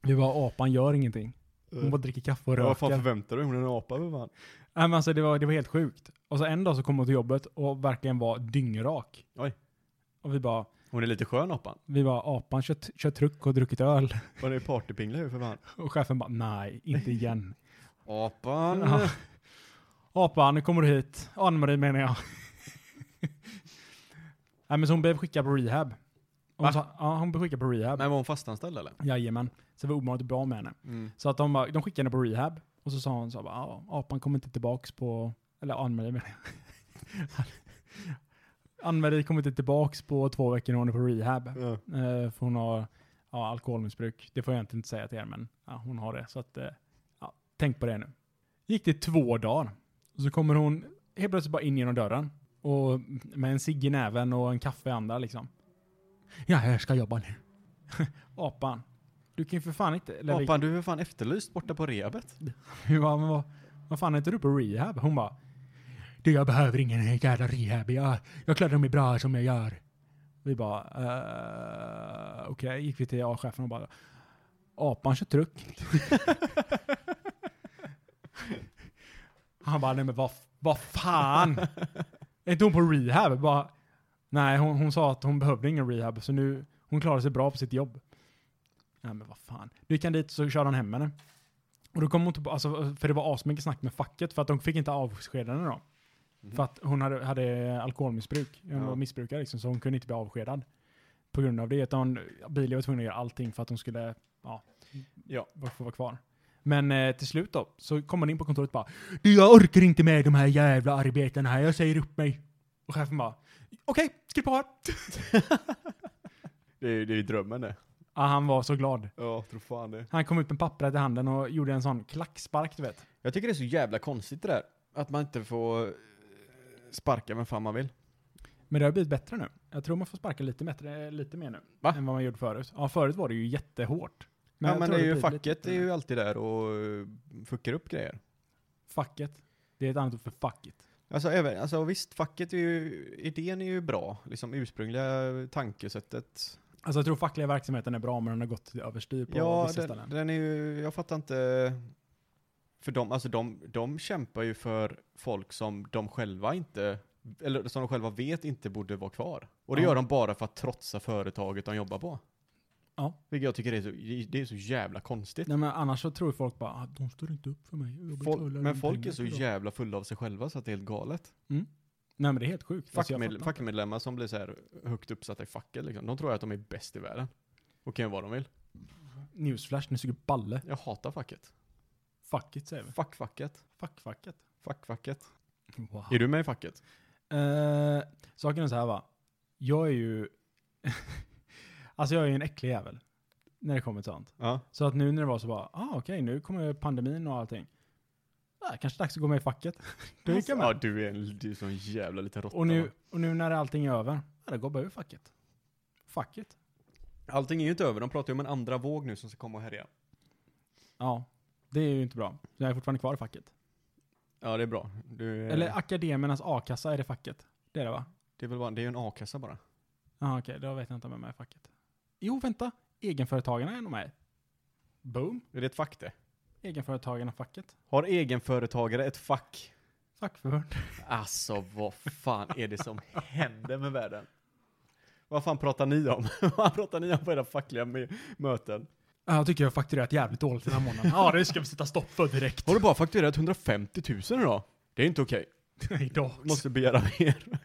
S1: Det var apan gör ingenting. Hon bara dricker kaffe och
S4: Vad fan
S1: röker.
S4: förväntar du dig? Hon är en apa för fan.
S1: Nej, men alltså, det, var, det var helt sjukt. Och så en dag så kom hon till jobbet och verkligen var dyngrak.
S4: Oj.
S1: Och vi bara,
S4: Hon är lite skön apan.
S1: vi bara apan kör, kör truck och druckit öl.
S4: Hon är ju partypingla ju för fan.
S1: Och chefen bara, nej, inte igen.
S4: Apan.
S1: Ja. Apan, nu kommer du hit. Ann-Marie menar jag. Nej men så hon blev skickad på rehab. Hon
S4: Va?
S1: sa, ja, hon blev skickad på rehab.
S4: Men var hon fastanställd eller?
S1: Jajamän. Så det var ovanligt bra med henne.
S4: Mm.
S1: Så att de, bara, de skickade henne på rehab. Och så sa hon så här bara, "Ja, apan kommer inte tillbaks på... Eller Ann-Marie menar jag. Ann-Marie kommer inte tillbaks på två veckor när hon är på rehab.
S4: Ja.
S1: Eh, för hon har ja, alkoholmissbruk. Det får jag egentligen inte säga till er, men ja, hon har det. Så att, eh, ja, tänk på det nu. Gick det två dagar. Så kommer hon helt plötsligt bara in genom dörren. Och med en cigg i näven och en kaffe i andra liksom. Ja, jag ska jobba nu. Apan. Du kan ju för fan inte... Eller,
S4: Apan, du är för fan efterlyst borta på rehabet.
S1: vi- Ja, men vad, vad fan är inte du på rehab? Hon bara... Du, jag behöver ingen jävla rehab. Jag, jag klarar mig bra som jag gör. Vi bara... Uh, Okej, gick vi till A-chefen och bara... Apan kör truck. Han bara, nej men vad, vad fan? Är inte hon på rehab? Bara, nej, hon, hon sa att hon behövde ingen rehab, så nu... Hon klarar sig bra på sitt jobb. Nej men vad fan. Du kan dit så kör han hem henne. Och då kom hon tillbaka, alltså, för det var asmycket snack med facket, för att de fick inte avskeda henne då.
S4: Mhm.
S1: För att hon hade, hade alkoholmissbruk, hon
S4: Ja.
S1: var missbrukare liksom, så hon kunde inte bli avskedad. På grund av det, utan Bilia var tvungen att göra allting för att hon skulle, ja,
S4: Ja.
S1: vara- få vara kvar. Men eh, till slut då, så kom hon in på kontoret och bara Du jag orkar inte med de här jävla arbetena här, jag säger upp mig. Och chefen bara Okej, skriv på här.
S4: Det är ju det är ju drömmen det.
S1: Ja, han var så glad.
S4: Ja, tror fan det.
S1: Han kom ut med pappret i handen och gjorde en sån klackspark du vet.
S4: Jag tycker det är så jävla konstigt det där. Att man inte får eh, sparka vem fan man vill.
S1: Men det har blivit bättre nu. Jag tror man får sparka lite, bättre, lite mer nu.
S4: Va?
S1: Än vad man gjorde förut. Ja, förut var det ju jättehårt.
S4: ja
S1: jag
S4: men det
S1: tror
S4: är ju,
S1: blivit lite
S4: facket
S1: bättre
S4: är
S1: nu.
S4: ju alltid där och eh, fuckar upp grejer.
S1: Facket. Det är ett annat ord för facket.
S4: Alltså, även, alltså visst, facket är ju, idén är ju bra. Liksom ursprungliga tankesättet.
S1: Alltså jag tror fackliga verksamheten är bra, men den har gått överstyr på
S4: ja,
S1: vissa
S4: den,
S1: ställen.
S4: den är ju, jag fattar inte. För de, alltså de, de kämpar ju för folk som de själva inte, eller som de själva vet inte borde vara kvar. Och det
S1: Ja.
S4: gör de bara för att trotsa företaget de jobbar på.
S1: Ja.
S4: Vilket jag tycker är så, det är så jävla konstigt.
S1: Nej, men annars så tror folk bara att de står inte upp för mig. Jag betalar
S4: Folk,
S1: dem
S4: men folk är
S1: pengar
S4: så
S1: för dem."
S4: jävla fulla av sig själva så att det är helt galet.
S1: Nej men det är helt sjukt. Alltså, jag
S4: Fackmed,
S1: fattar inte.
S4: fackmedlemmar som blir så här högt uppsatta i facket, liksom, de tror att de är bäst i världen. Och kan göra vad de vill.
S1: Newsflash, ni suger balle.
S4: Jag hatar facket.
S1: Facket säger vi.
S4: Fuck facket.
S1: Fackfacket.
S4: Fuck facket.
S1: Wow.
S4: Är du med i facket?
S1: Eh, saken är så här va. Jag är ju... alltså jag är ju en äcklig jävel. När det kommer till sånt.
S4: Ja.
S1: Så att nu när det var så bara, ah okej nu kommer pandemin och allting. Ah, kanske dags att gå med i facket. Då gick jag
S4: Ja,
S1: med.
S4: du är en du är sån jävla liten råtta.
S1: Och nu,
S4: va?
S1: och nu när allting är över, ja, då går jag bara ur facket. Facket.
S4: Allting är ju inte över, de pratar ju om en andra våg nu som ska komma och härja.
S1: Ja, det är ju inte bra. Så Jag är fortfarande kvar i facket.
S4: Ja, det är bra. Du, eh,
S1: Eller akademernas a-kassa är det facket. Det är det va?
S4: det är väl bara, det är ju en a-kassa bara.
S1: Ja, okej, då vet jag inte om jag är med i facket. Jo, vänta. Egenföretagarna är nog med. Boom.
S4: Är det ett fack det?
S1: Egenföretagarna-facket.
S4: Har egenföretagare ett fack?
S1: Fackförbund.
S4: Alltså vad fan är det som händer med världen? Vad fan pratar ni om? vad pratar ni om på era fackliga mö- möten?
S1: Ja, jag tycker jag har fakturerat jävligt dåligt den här månaden. Ja, det ska vi sätta stopp för direkt.
S4: Har du bara fakturerat 150 000 idag? Det är inte okej.
S1: Idag.
S4: Måste begära mer.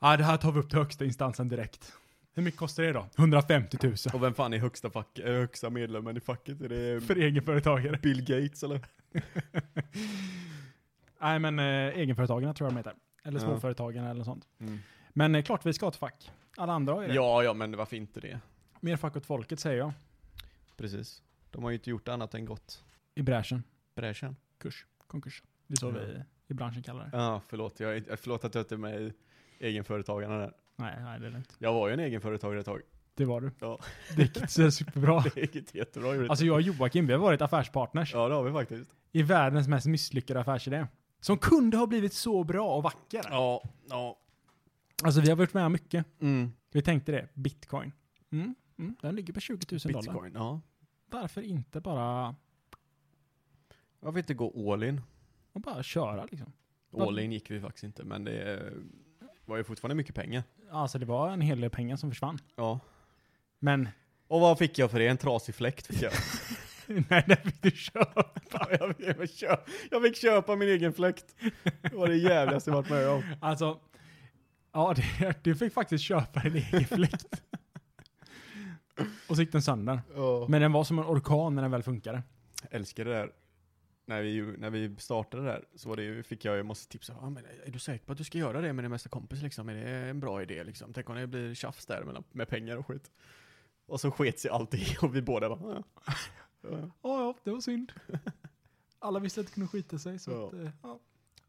S1: Ja, det här tar vi upp till högsta instansen direkt. Hur mycket kostar det då? 150 000.
S4: Och vem fan är högsta, fack, eh, högsta medlemmen i facket? Är det
S1: För egenföretagare.
S4: Bill Gates eller?
S1: Nej, men eh, egenföretagarna tror jag de heter. Eller
S4: Ja. Mm.
S1: småföretagarna eller sånt. Men eh, klart vi ska ha ett fack. Alla andra har ju det.
S4: Ja, ja, men varför inte det?
S1: Mer fack åt folket säger jag.
S4: Precis. De har ju inte gjort annat än gått
S1: I bräschen.
S4: bräschen.
S1: Kurs. Konkurs. Det är så
S4: Ja.
S1: vi i branschen kallar det.
S4: Ja, förlåt. Jag, är- förlåt att jag inte är med i egenföretagarna där.
S1: Nej, nej, det är lugnt.
S4: Jag var ju en egenföretagare ett tag.
S1: Det var du.
S4: Ja.
S1: Det gick inte så superbra.
S4: Det gick inte jättebra. gjorde det
S1: Alltså jag och Joakim, vi har varit affärspartners.
S4: Ja, det har vi faktiskt.
S1: I världens mest misslyckade affärsidé. Som kunde ha blivit så bra och vacker.
S4: Ja, ja.
S1: Alltså vi har varit med om mycket.
S4: Mm.
S1: Vi tänkte det. Bitcoin. Mm. Mm. Den ligger på 20 000 dollar.
S4: Bitcoin, ja.
S1: Varför inte bara,
S4: Varför inte gå all in?
S1: och bara köra liksom?
S4: All in gick vi faktiskt inte, men det eh, var ju fortfarande mycket pengar.
S1: Alltså det var en hel del pengar som försvann.
S4: Ja.
S1: Men,
S4: Och vad fick jag för det? En trasig fläkt fick jag.
S1: nej det fick du köpa.
S4: jag, fick, jag, köpa, jag fick köpa min egen fläkt. Det var det jävligaste jag varit med om.
S1: Alltså, ja det, du fick faktiskt köpa din egen fläkt. och så gick den sönder. Men den var som en orkan när den väl funkade.
S4: älskar det där. När vi, ju- när vi startade det där så var det, ju- fick jag ju massa tips. Ah, men är du säker på att du ska göra det med din bästa kompis? Liksom? Är det en bra idé? Liksom? Tänk om det blir tjafs där mellan, med pengar och skit. Och så sket sig allting och vi båda bara, ah, ja.
S1: Ja, ja, det var synd. Alla visste att det kunde skita sig. Så
S4: Ja.
S1: att, eh, ja.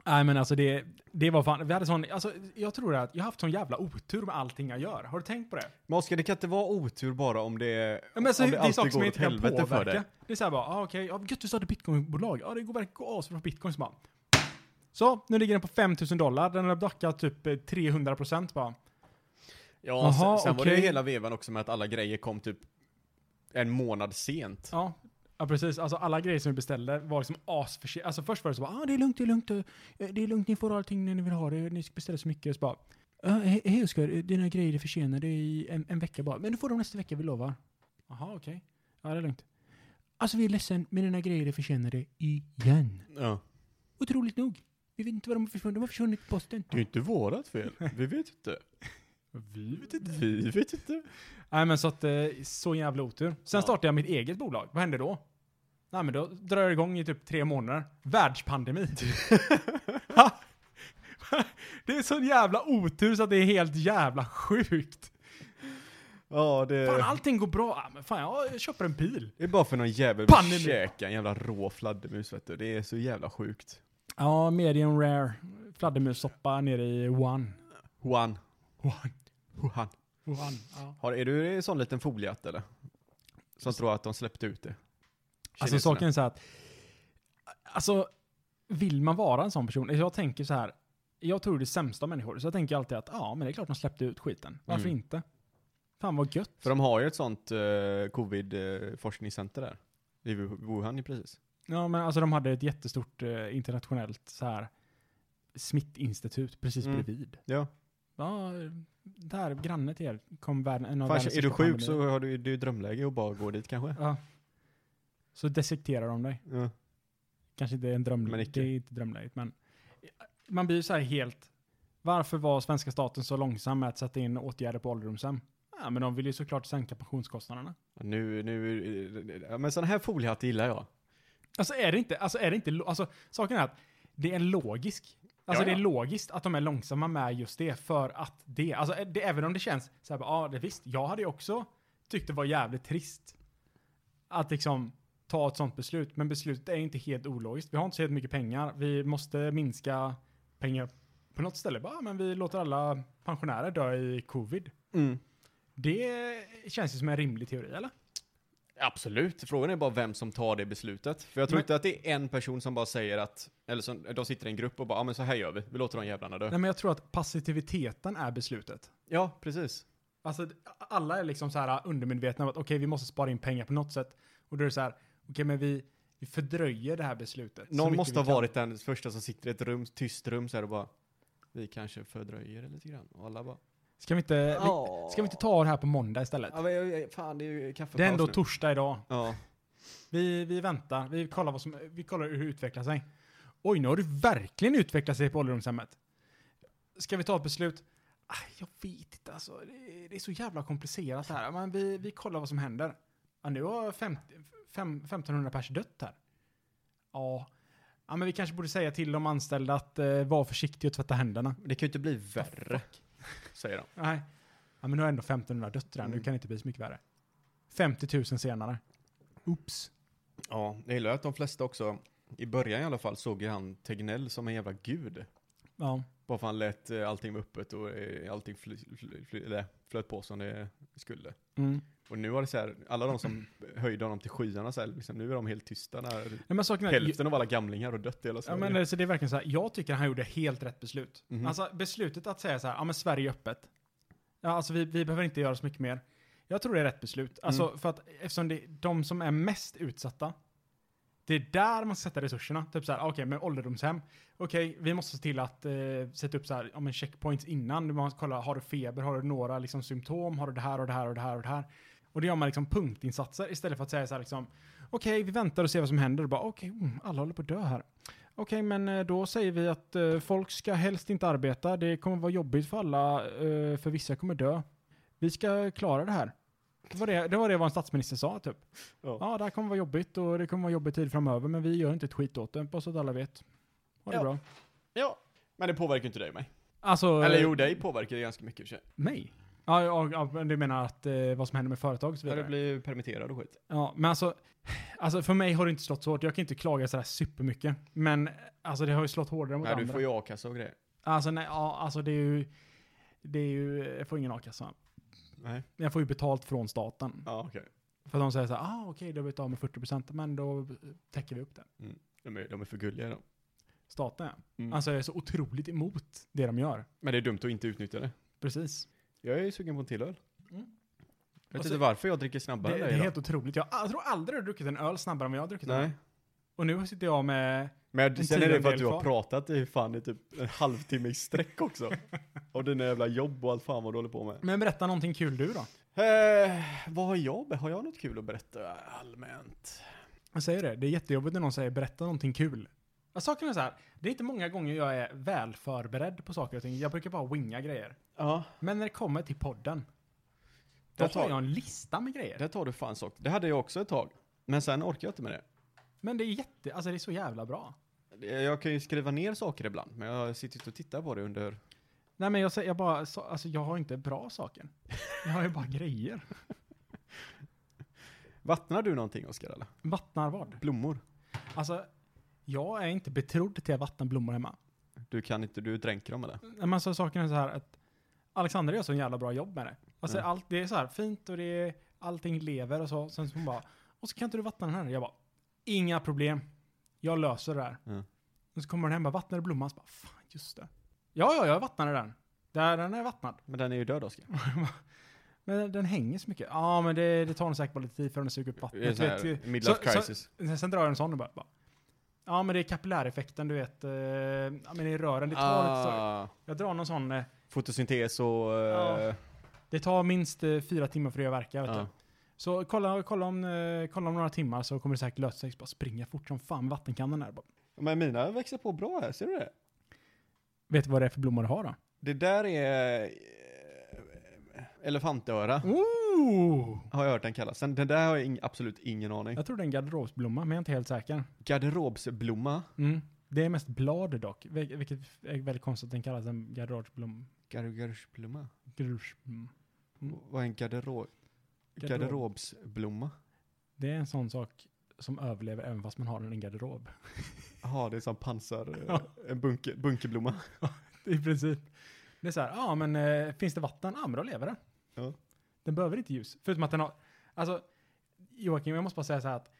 S1: Nej men alltså det, det var fan, vi hade sån, alltså jag tror att jag har haft sån jävla otur med allting jag gör. Har du tänkt på det?
S4: Men Oskar, det kan inte vara otur bara om det,
S1: Ja, men alltså,
S4: om
S1: det, är saker som jag inte kan påverka.
S4: för dig.
S1: Det är såhär bara, ah, okej, ja, gött du startade bitcoinbolag. Ja, det går verkligen gå asbra på bitcoin. Så, bara, så, nu ligger den på 5000 dollar. Den har backat typ eh, 300% bara.
S4: Ja,
S1: Jaha,
S4: sen, sen var det ju
S1: okej.
S4: hela vevan också med att alla grejer kom typ en månad sent.
S1: Ja, ja precis. Alltså alla grejer som vi beställde var liksom asförsenade. Alltså först var det så bara, ah, det är lugnt, det är lugnt. eh, Det är lugnt, ni får allting när ni vill ha det. Ni ska beställa så mycket. Så bara, "Ja, he- hej Oskar, eh, dina grejer är försenade i en, en vecka bara. Men du får dem nästa vecka, vi lovar. Jaha, okej. Ja, det är lugnt. Alltså vi är ledsen, men dina grejer är försenade igen.
S4: Ja.
S1: Otroligt nog. Vi vet inte var de har försvunnit. De har försvunnit i posten.
S4: Det är ju inte vårat fel. Vi vet inte.
S1: Vi vet inte.
S4: Vi vet inte.
S1: Nej men så att, eh, så jävla otur. Sen
S4: Ja.
S1: startade jag mitt eget bolag. Vad hände då? Nej men då drar jag igång i typ tre månader. Världspandemi. Ha! det är sån jävla otur så att det är helt jävla sjukt.
S4: Ja, det...
S1: Fan allting går bra. Ja, men fan jag- jag köper en bil.
S4: Det är bara för någon jävel
S1: Pandemi.
S4: vill käka en jävla rå fladdermus vet du. Det är så jävla sjukt.
S1: Ja, medium rare. Fladdermussoppa nere i Wuhan.
S4: Juan.
S1: Wuhan.
S4: Juan.
S1: Wuhan. Ja.
S4: Har, är du en sån liten foliehatt eller? Som tror att de släppte ut det?
S1: Alltså
S4: Kineserna.
S1: saken är så här att, alltså vill man vara en sån person? Jag tänker så här, jag tror det är sämsta om människor, så jag tänker alltid att ja, men det är klart de släppte ut skiten. Varför
S4: Mm.
S1: inte? Fan vad gött.
S4: För de har ju ett sånt eh, covid-forskningscenter där. I Wu- Wuhan ju precis.
S1: Ja, men alltså de hade ett jättestort eh, internationellt så här smittinstitut precis
S4: Mm.
S1: bredvid.
S4: Ja.
S1: Ja, där granne till er kom världen, en av
S4: Fan,
S1: världens
S4: är du
S1: största
S4: sjuk
S1: pandemier.
S4: så har du, det är ju drömläge att bara gå dit kanske.
S1: Ja. Så dissekterar de dig.
S4: Ja.
S1: kanske inte är en dröm,
S4: Men icke.
S1: det är inte drömläget, men man blir ju så här helt, varför var svenska staten så långsam med att sätta in åtgärder på ålderdomshem? Ja, men de vill ju såklart sänka pensionskostnaderna.
S4: Nu, nu, ja, men sån här foliehatt gillar jag.
S1: Alltså är det inte, alltså är det inte, lo- alltså saken är att det är logisk, alltså
S4: Ja, ja.
S1: det är logiskt att de är långsamma med just det för att det, alltså det, även om det känns så här, bara, ja det visst, jag hade ju också tyckt det var jävligt trist att liksom ta ett sånt beslut, men beslutet är ju inte helt ologiskt. Vi har inte så helt mycket pengar, vi måste minska
S4: Mm.
S1: pengar på något ställe. Bara, men vi låter alla pensionärer dö i covid. Det känns ju som en rimlig teori, eller?
S4: Absolut. Frågan är bara vem som tar det beslutet. För jag tror
S1: Men-
S4: inte att det är en person som bara säger att, eller som, de sitter i en grupp och bara, ja ah, men så här gör vi, vi låter de jävlarna dö.
S1: Nej, men jag tror att passiviteten är beslutet.
S4: Ja, precis.
S1: Alltså, alla är liksom så här undermedvetna om att okej, vi måste spara in pengar på något sätt. Och då är det så här, okej, men vi, vi fördröjer det här beslutet. så
S4: Någon
S1: mycket
S4: måste
S1: vi
S4: ha
S1: kan.
S4: varit den första som sitter i ett rum, tyst rum så här och bara, vi kanske fördröjer det lite grann. Och alla bara,
S1: Ska vi inte, vi, ska vi inte ta det här på måndag istället?
S4: ja men jag- jag- fan det är ju kaffepaus
S1: Det är ändå
S4: nu."
S1: torsdag idag.
S4: Ja.
S1: Vi, vi väntar, vi kollar, vad som, vi kollar hur det utvecklar sig. Oj, nu har du verkligen utvecklat sig på ålderdomshemmet. Ska vi ta ett beslut? Ah, Jag vet inte alltså. Det är, det är så jävla komplicerat det här. Men vi, vi kollar vad som händer. Ja, nu har 50, fem, 1500 pers dött här. Ja. ja, men vi kanske borde säga till de anställda att eh, vara försiktiga och tvätta händerna.
S4: Det kan ju inte bli värre, säger de.
S1: Nej. Ja, men nu har ändå 1500 dött redan. Nu
S4: Mm.
S1: kan det inte bli så mycket värre. 50 000 senare. Oops.
S4: Ja, jag gillar att de flesta också, i början i alla fall, såg ju han Tegnell som en jävla gud.
S1: Ja.
S4: Bara för han lät eh, allting vara öppet och eh, allting fly, fly, fly, eller, flöt på som det skulle.
S1: Mm.
S4: Och nu har det så här, alla de som höjde honom till skyarna så här, liksom, nu är de helt tysta när
S1: Nej, men saken är, att-
S4: hälften av alla gamlingar har dött i hela
S1: Ja,
S4: Sverige.
S1: men, så det är verkligen så här, jag tycker han gjorde helt rätt beslut.
S4: Mhm.
S1: Alltså beslutet att säga så här, ja men Sverige är öppet. Ja, alltså vi, vi behöver inte göra så mycket mer. Jag tror det är rätt beslut.
S4: Mm.
S1: Alltså för att eftersom det, de som är mest utsatta, det är där man ska sätta resurserna. Typ så här, okej men ålderdomshem, okej vi måste se till att eh, sätta upp så här, ja men checkpoints innan. Du måste kolla, har du feber, har du några liksom symptom, har du det här och det här och det här och det här. Och det gör man liksom punktinsatser istället för att säga så här liksom, okej vi väntar och ser vad som händer. Och bara okej, mm, alla håller på att dö här. Okej, men eh, då säger vi att eh, folk ska helst inte arbeta. Det kommer vara jobbigt för alla, eh, för vissa kommer dö. Vi ska klara det här. Det var det, det var det vad en statsminister sa, typ.
S4: Ja.
S1: Ja. det här kommer vara jobbigt och det kommer vara jobbig tid framöver, men vi gör inte ett skit åt det, bara så att alla vet. Ha det
S4: Ja.
S1: bra.
S4: ja. men det påverkar ju inte dig och mig.
S1: Alltså,
S4: Eller jo, dig påverkar det ganska mycket i och för sig.
S1: mig? Ja, ja, ja, men du menar att eh, vad som händer med företag och så
S4: Ja,
S1: vidare?
S4: du blir ju permitterad och skit.
S1: Ja, men alltså, alltså för mig har det inte slått så hårt. Jag kan inte klaga sådär supermycket, men alltså det har ju slått hårdare mot
S4: Nej,
S1: andra.
S4: du får ju a-kassa och grejer.
S1: Alltså nej, ja, alltså det är ju, det är ju, jag får ingen a-kassa.
S4: Nej.
S1: Jag får ju betalt från staten.
S4: Ja, okej.
S1: För de säger så här, ah okej, du har blivit av med 40% men då täcker vi upp det.
S4: De, är- de är för gulliga de.
S1: Staten ja.
S4: Mm.
S1: Alltså jag är så otroligt emot det de gör.
S4: Men det är dumt att inte utnyttja det.
S1: Precis.
S4: Jag är ju sugen på en till öl.
S1: Mm.
S4: Jag vet
S1: Och så-
S4: inte varför jag dricker
S1: Det,
S4: snabbare
S1: det
S4: än
S1: är
S4: dig idag.
S1: helt otroligt. Jag, jag tror aldrig jag har druckit en öl snabbare än vad jag har druckit en
S4: Nej.
S1: öl. Och nu sitter jag med,
S4: Men
S1: En
S4: sen är det för att
S1: tiondel
S4: du
S1: kvar.
S4: har pratat i fan i typ en halvtimme i sträck också. Av dina jävla jobb och allt fan vad du håller på med.
S1: men berätta någonting kul du då.
S4: Eh, vad har jag? Har jag något kul att berätta allmänt?
S1: Jag säger det, det är jättejobbigt när någon säger berätta någonting kul. Ja, Saken är så här, det är inte många gånger jag är väl förberedd på saker och ting. Jag brukar bara winga grejer.
S4: Ja.
S1: Men när det kommer till podden, då
S4: Där tar-
S1: har jag en lista med grejer.
S4: Där tar du fan sak. Det hade jag också ett tag. Men sen orkar jag inte med det.
S1: Men det är jätte, alltså det är så jävla bra.
S4: Det- Jag kan ju skriva ner saker ibland, men jag sitter inte och tittar på det under...
S1: Nej men jag säger, jag bara, så, alltså jag har inte bra saker. Jag har ju bara grejer.
S4: Vattnar du någonting Oskar eller?
S1: Vattnar vad?
S4: Blommor?
S1: Alltså, jag är inte betrodd till att vattna blommor hemma.
S4: Du kan inte, du dränker dem eller?
S1: Nej, Men alltså saken är så här att Alexander gör så en jävla bra jobb med det. Alltså
S4: Mm.
S1: allt, det är så här fint och det är, allting lever och så. Sen så hon bara, och så kan inte du vattna den här? Jag bara, inga problem. Jag löser det här.
S4: Mm.
S1: Och så kommer den hem och bara, vattnar du blomman? Så bara, fan just det. Ja, ja, jag vattnade den. Där, den är vattnad.
S4: Men den är ju död Oskar.
S1: Men den hänger så mycket. Ja, men det, det tar nog säkert bara lite tid för den att suga upp
S4: Det är
S1: vattnet.
S4: sån
S1: Vet,
S4: här
S1: ju-
S4: midlife
S1: så- så-
S4: crisis.
S1: sen, sen drar jag en sån och bara, bara. Ja, men det är kapilläreffekten, du vet. Eh, ja, men i rören, det tar lite så.
S4: Ah,
S1: Jag drar någon sån. Eh,
S4: fotosyntes och...
S1: Ja.
S4: eh,
S1: det tar minst eh, fyra timmar för det att verka, vet
S4: ja.
S1: du. Så kolla, kolla, om, eh, kolla om några timmar så kommer det säkert lösa sig. Så Bara springa fort som fan med vattenkannan här. Bara.
S4: Men mina växer på bra här, ser du det?
S1: Vet du vad det är för blommor du har då?
S4: Det där är... eh, Elefantöra,
S1: Ooh!
S4: har jag hört den kallas. Den, den där har jag ing, absolut ingen aning.
S1: Jag tror det är en garderobsblomma, men jag är inte helt säker.
S4: Garderobsblomma.
S1: Mm. Det är mest blad dock, vil- vilket är väldigt konstigt att den kallas en garderobsblomma.
S4: Garderobsblomma.
S1: Grush. Mm. Mm.
S4: Vad är en garderob...
S1: Garderob.
S4: Garderobsblomma?
S1: Det är en sån sak som överlever även fast man har den i en garderob.
S4: Jaha, det är som pansar... eh,
S1: Ja.
S4: En bunke, bunkerblomma.
S1: I princip. Det är så här, ja men eh, finns det vatten? Ja men då lever den.
S4: Ja.
S1: Den behöver inte ljus. Förutom att den har... Alltså, Joakim, jag måste bara säga så här att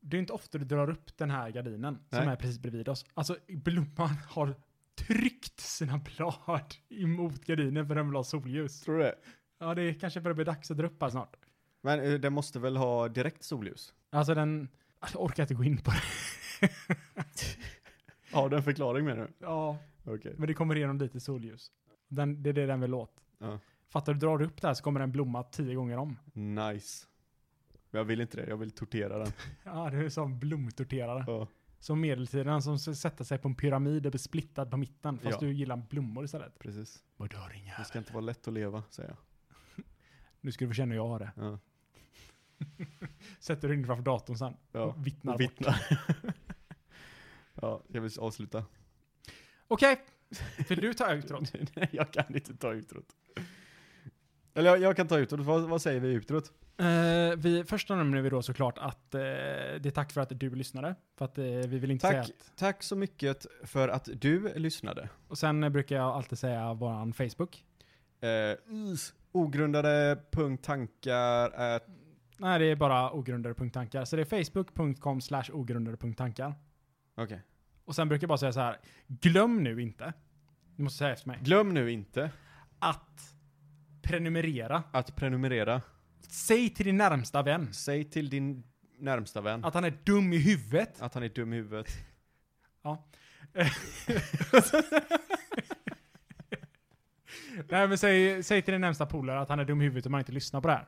S1: det är inte ofta du drar upp den här gardinen som
S4: Nej.
S1: är precis bredvid oss. Alltså, blomman har tryckt sina blad emot gardinen för den vill ha solljus.
S4: Tror du det?
S1: Ja, det är kanske börjar bli dags att dra upp här snart.
S4: Men eh, den måste väl ha direkt solljus?
S1: Alltså den... Alltså, jag orkar inte gå in på det.
S4: Har du en förklaring med nu?
S1: Ja,
S4: Okej.
S1: men det kommer igenom lite solljus. Den, det är det den vill åt.
S4: Ja.
S1: Fattar du, drar du upp det här så kommer den blomma tio gånger om.
S4: Nice. Men jag vill inte det, jag vill tortera den.
S1: Ja, det är som blomtorterare.
S4: Ja.
S1: Som medeltiden som s- sätter sig på en pyramid och blir splittad på mitten. Fast
S4: Ja.
S1: du gillar blommor istället.
S4: Precis.
S1: Vad dör inga.
S4: Det ska inte vara lätt att leva, säger jag.
S1: Nu ska du få känna hur jag har det.
S4: Ja.
S1: Sätter du in framför datorn sen.
S4: Ja.
S1: Och vittnar
S4: Och
S1: bort.
S4: vittna. ja, jag vill avsluta.
S1: Okej! Vill du ta utrot?
S4: Nej, jag kan inte ta utrot. Eller jag, jag kan ta utrot. Vad, vad säger vi i utrot?
S1: Eh, vi, först nämner vi då såklart att eh, det är tack för att du lyssnade. För att eh, vi vill inte
S4: Tack.
S1: säga att,
S4: Tack så mycket för att du lyssnade.
S1: Och sen eh, brukar jag alltid säga våran Facebook.
S4: Eh, is. ogrundade punkt tankar är...
S1: Nej, det är bara ogrundade.tankar. Så det är facebook.com slash ogrundade.tankar.
S4: Okej.
S1: Och sen brukar jag bara säga så här. Glöm nu inte. Du måste säga efter mig.
S4: Glöm nu inte
S1: Att prenumerera.
S4: att prenumerera.
S1: Säg till din närmsta vän
S4: Säg till din närmsta vän att,
S1: att han är dum i huvudet.
S4: han är dum i huvudet.
S1: Nej men säg, säg till din närmsta polare att han är dum i huvudet om han inte lyssnar på det här.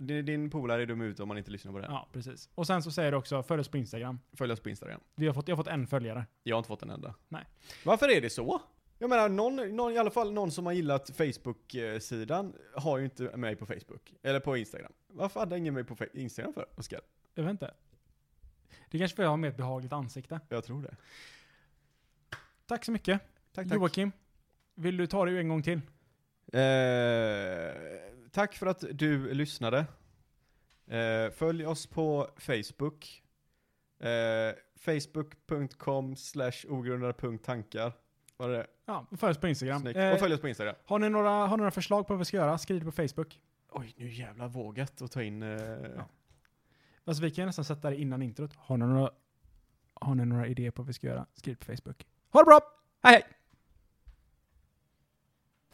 S4: Din, din polare är dum i huvudet om man inte lyssnar på det här.
S1: Ja, precis. Och sen så säger du också, följ oss på Instagram.
S4: Följ oss på Instagram.
S1: Vi har fått, jag har fått en följare.
S4: Jag har inte fått en enda.
S1: Nej.
S4: Varför är det så? Jag menar, någon, någon, i alla fall någon som har gillat Facebook-sidan har ju inte mig på Facebook. Eller på Instagram. Varför hade ingen mig på Fe- Instagram för, Oskar?
S1: Jag vet inte. Det är kanske för att jag har mer ett behagligt ansikte.
S4: Jag tror det.
S1: Tack så mycket.
S4: Tack, tack.
S1: Joakim, vill du ta det en gång till?
S4: Eh, tack för att du lyssnade. Eh, följ oss på Facebook. Eh, Facebook.com slash ogrundade.tankar. Var det
S1: Ja, följ oss på Instagram.
S4: snyggt?
S1: Eh,
S4: Och följ oss på Instagram.
S1: har, ni några, har ni några förslag på vad vi ska göra? Skriv det på Facebook.
S4: Oj, nu jävla vågat att ta in... Eh,
S1: Ja. Alltså vi kan ju nästan sätta det innan introt. Har ni några, har ni några idéer på vad vi ska göra? Skriv på Facebook. Ha det bra! Hej hej!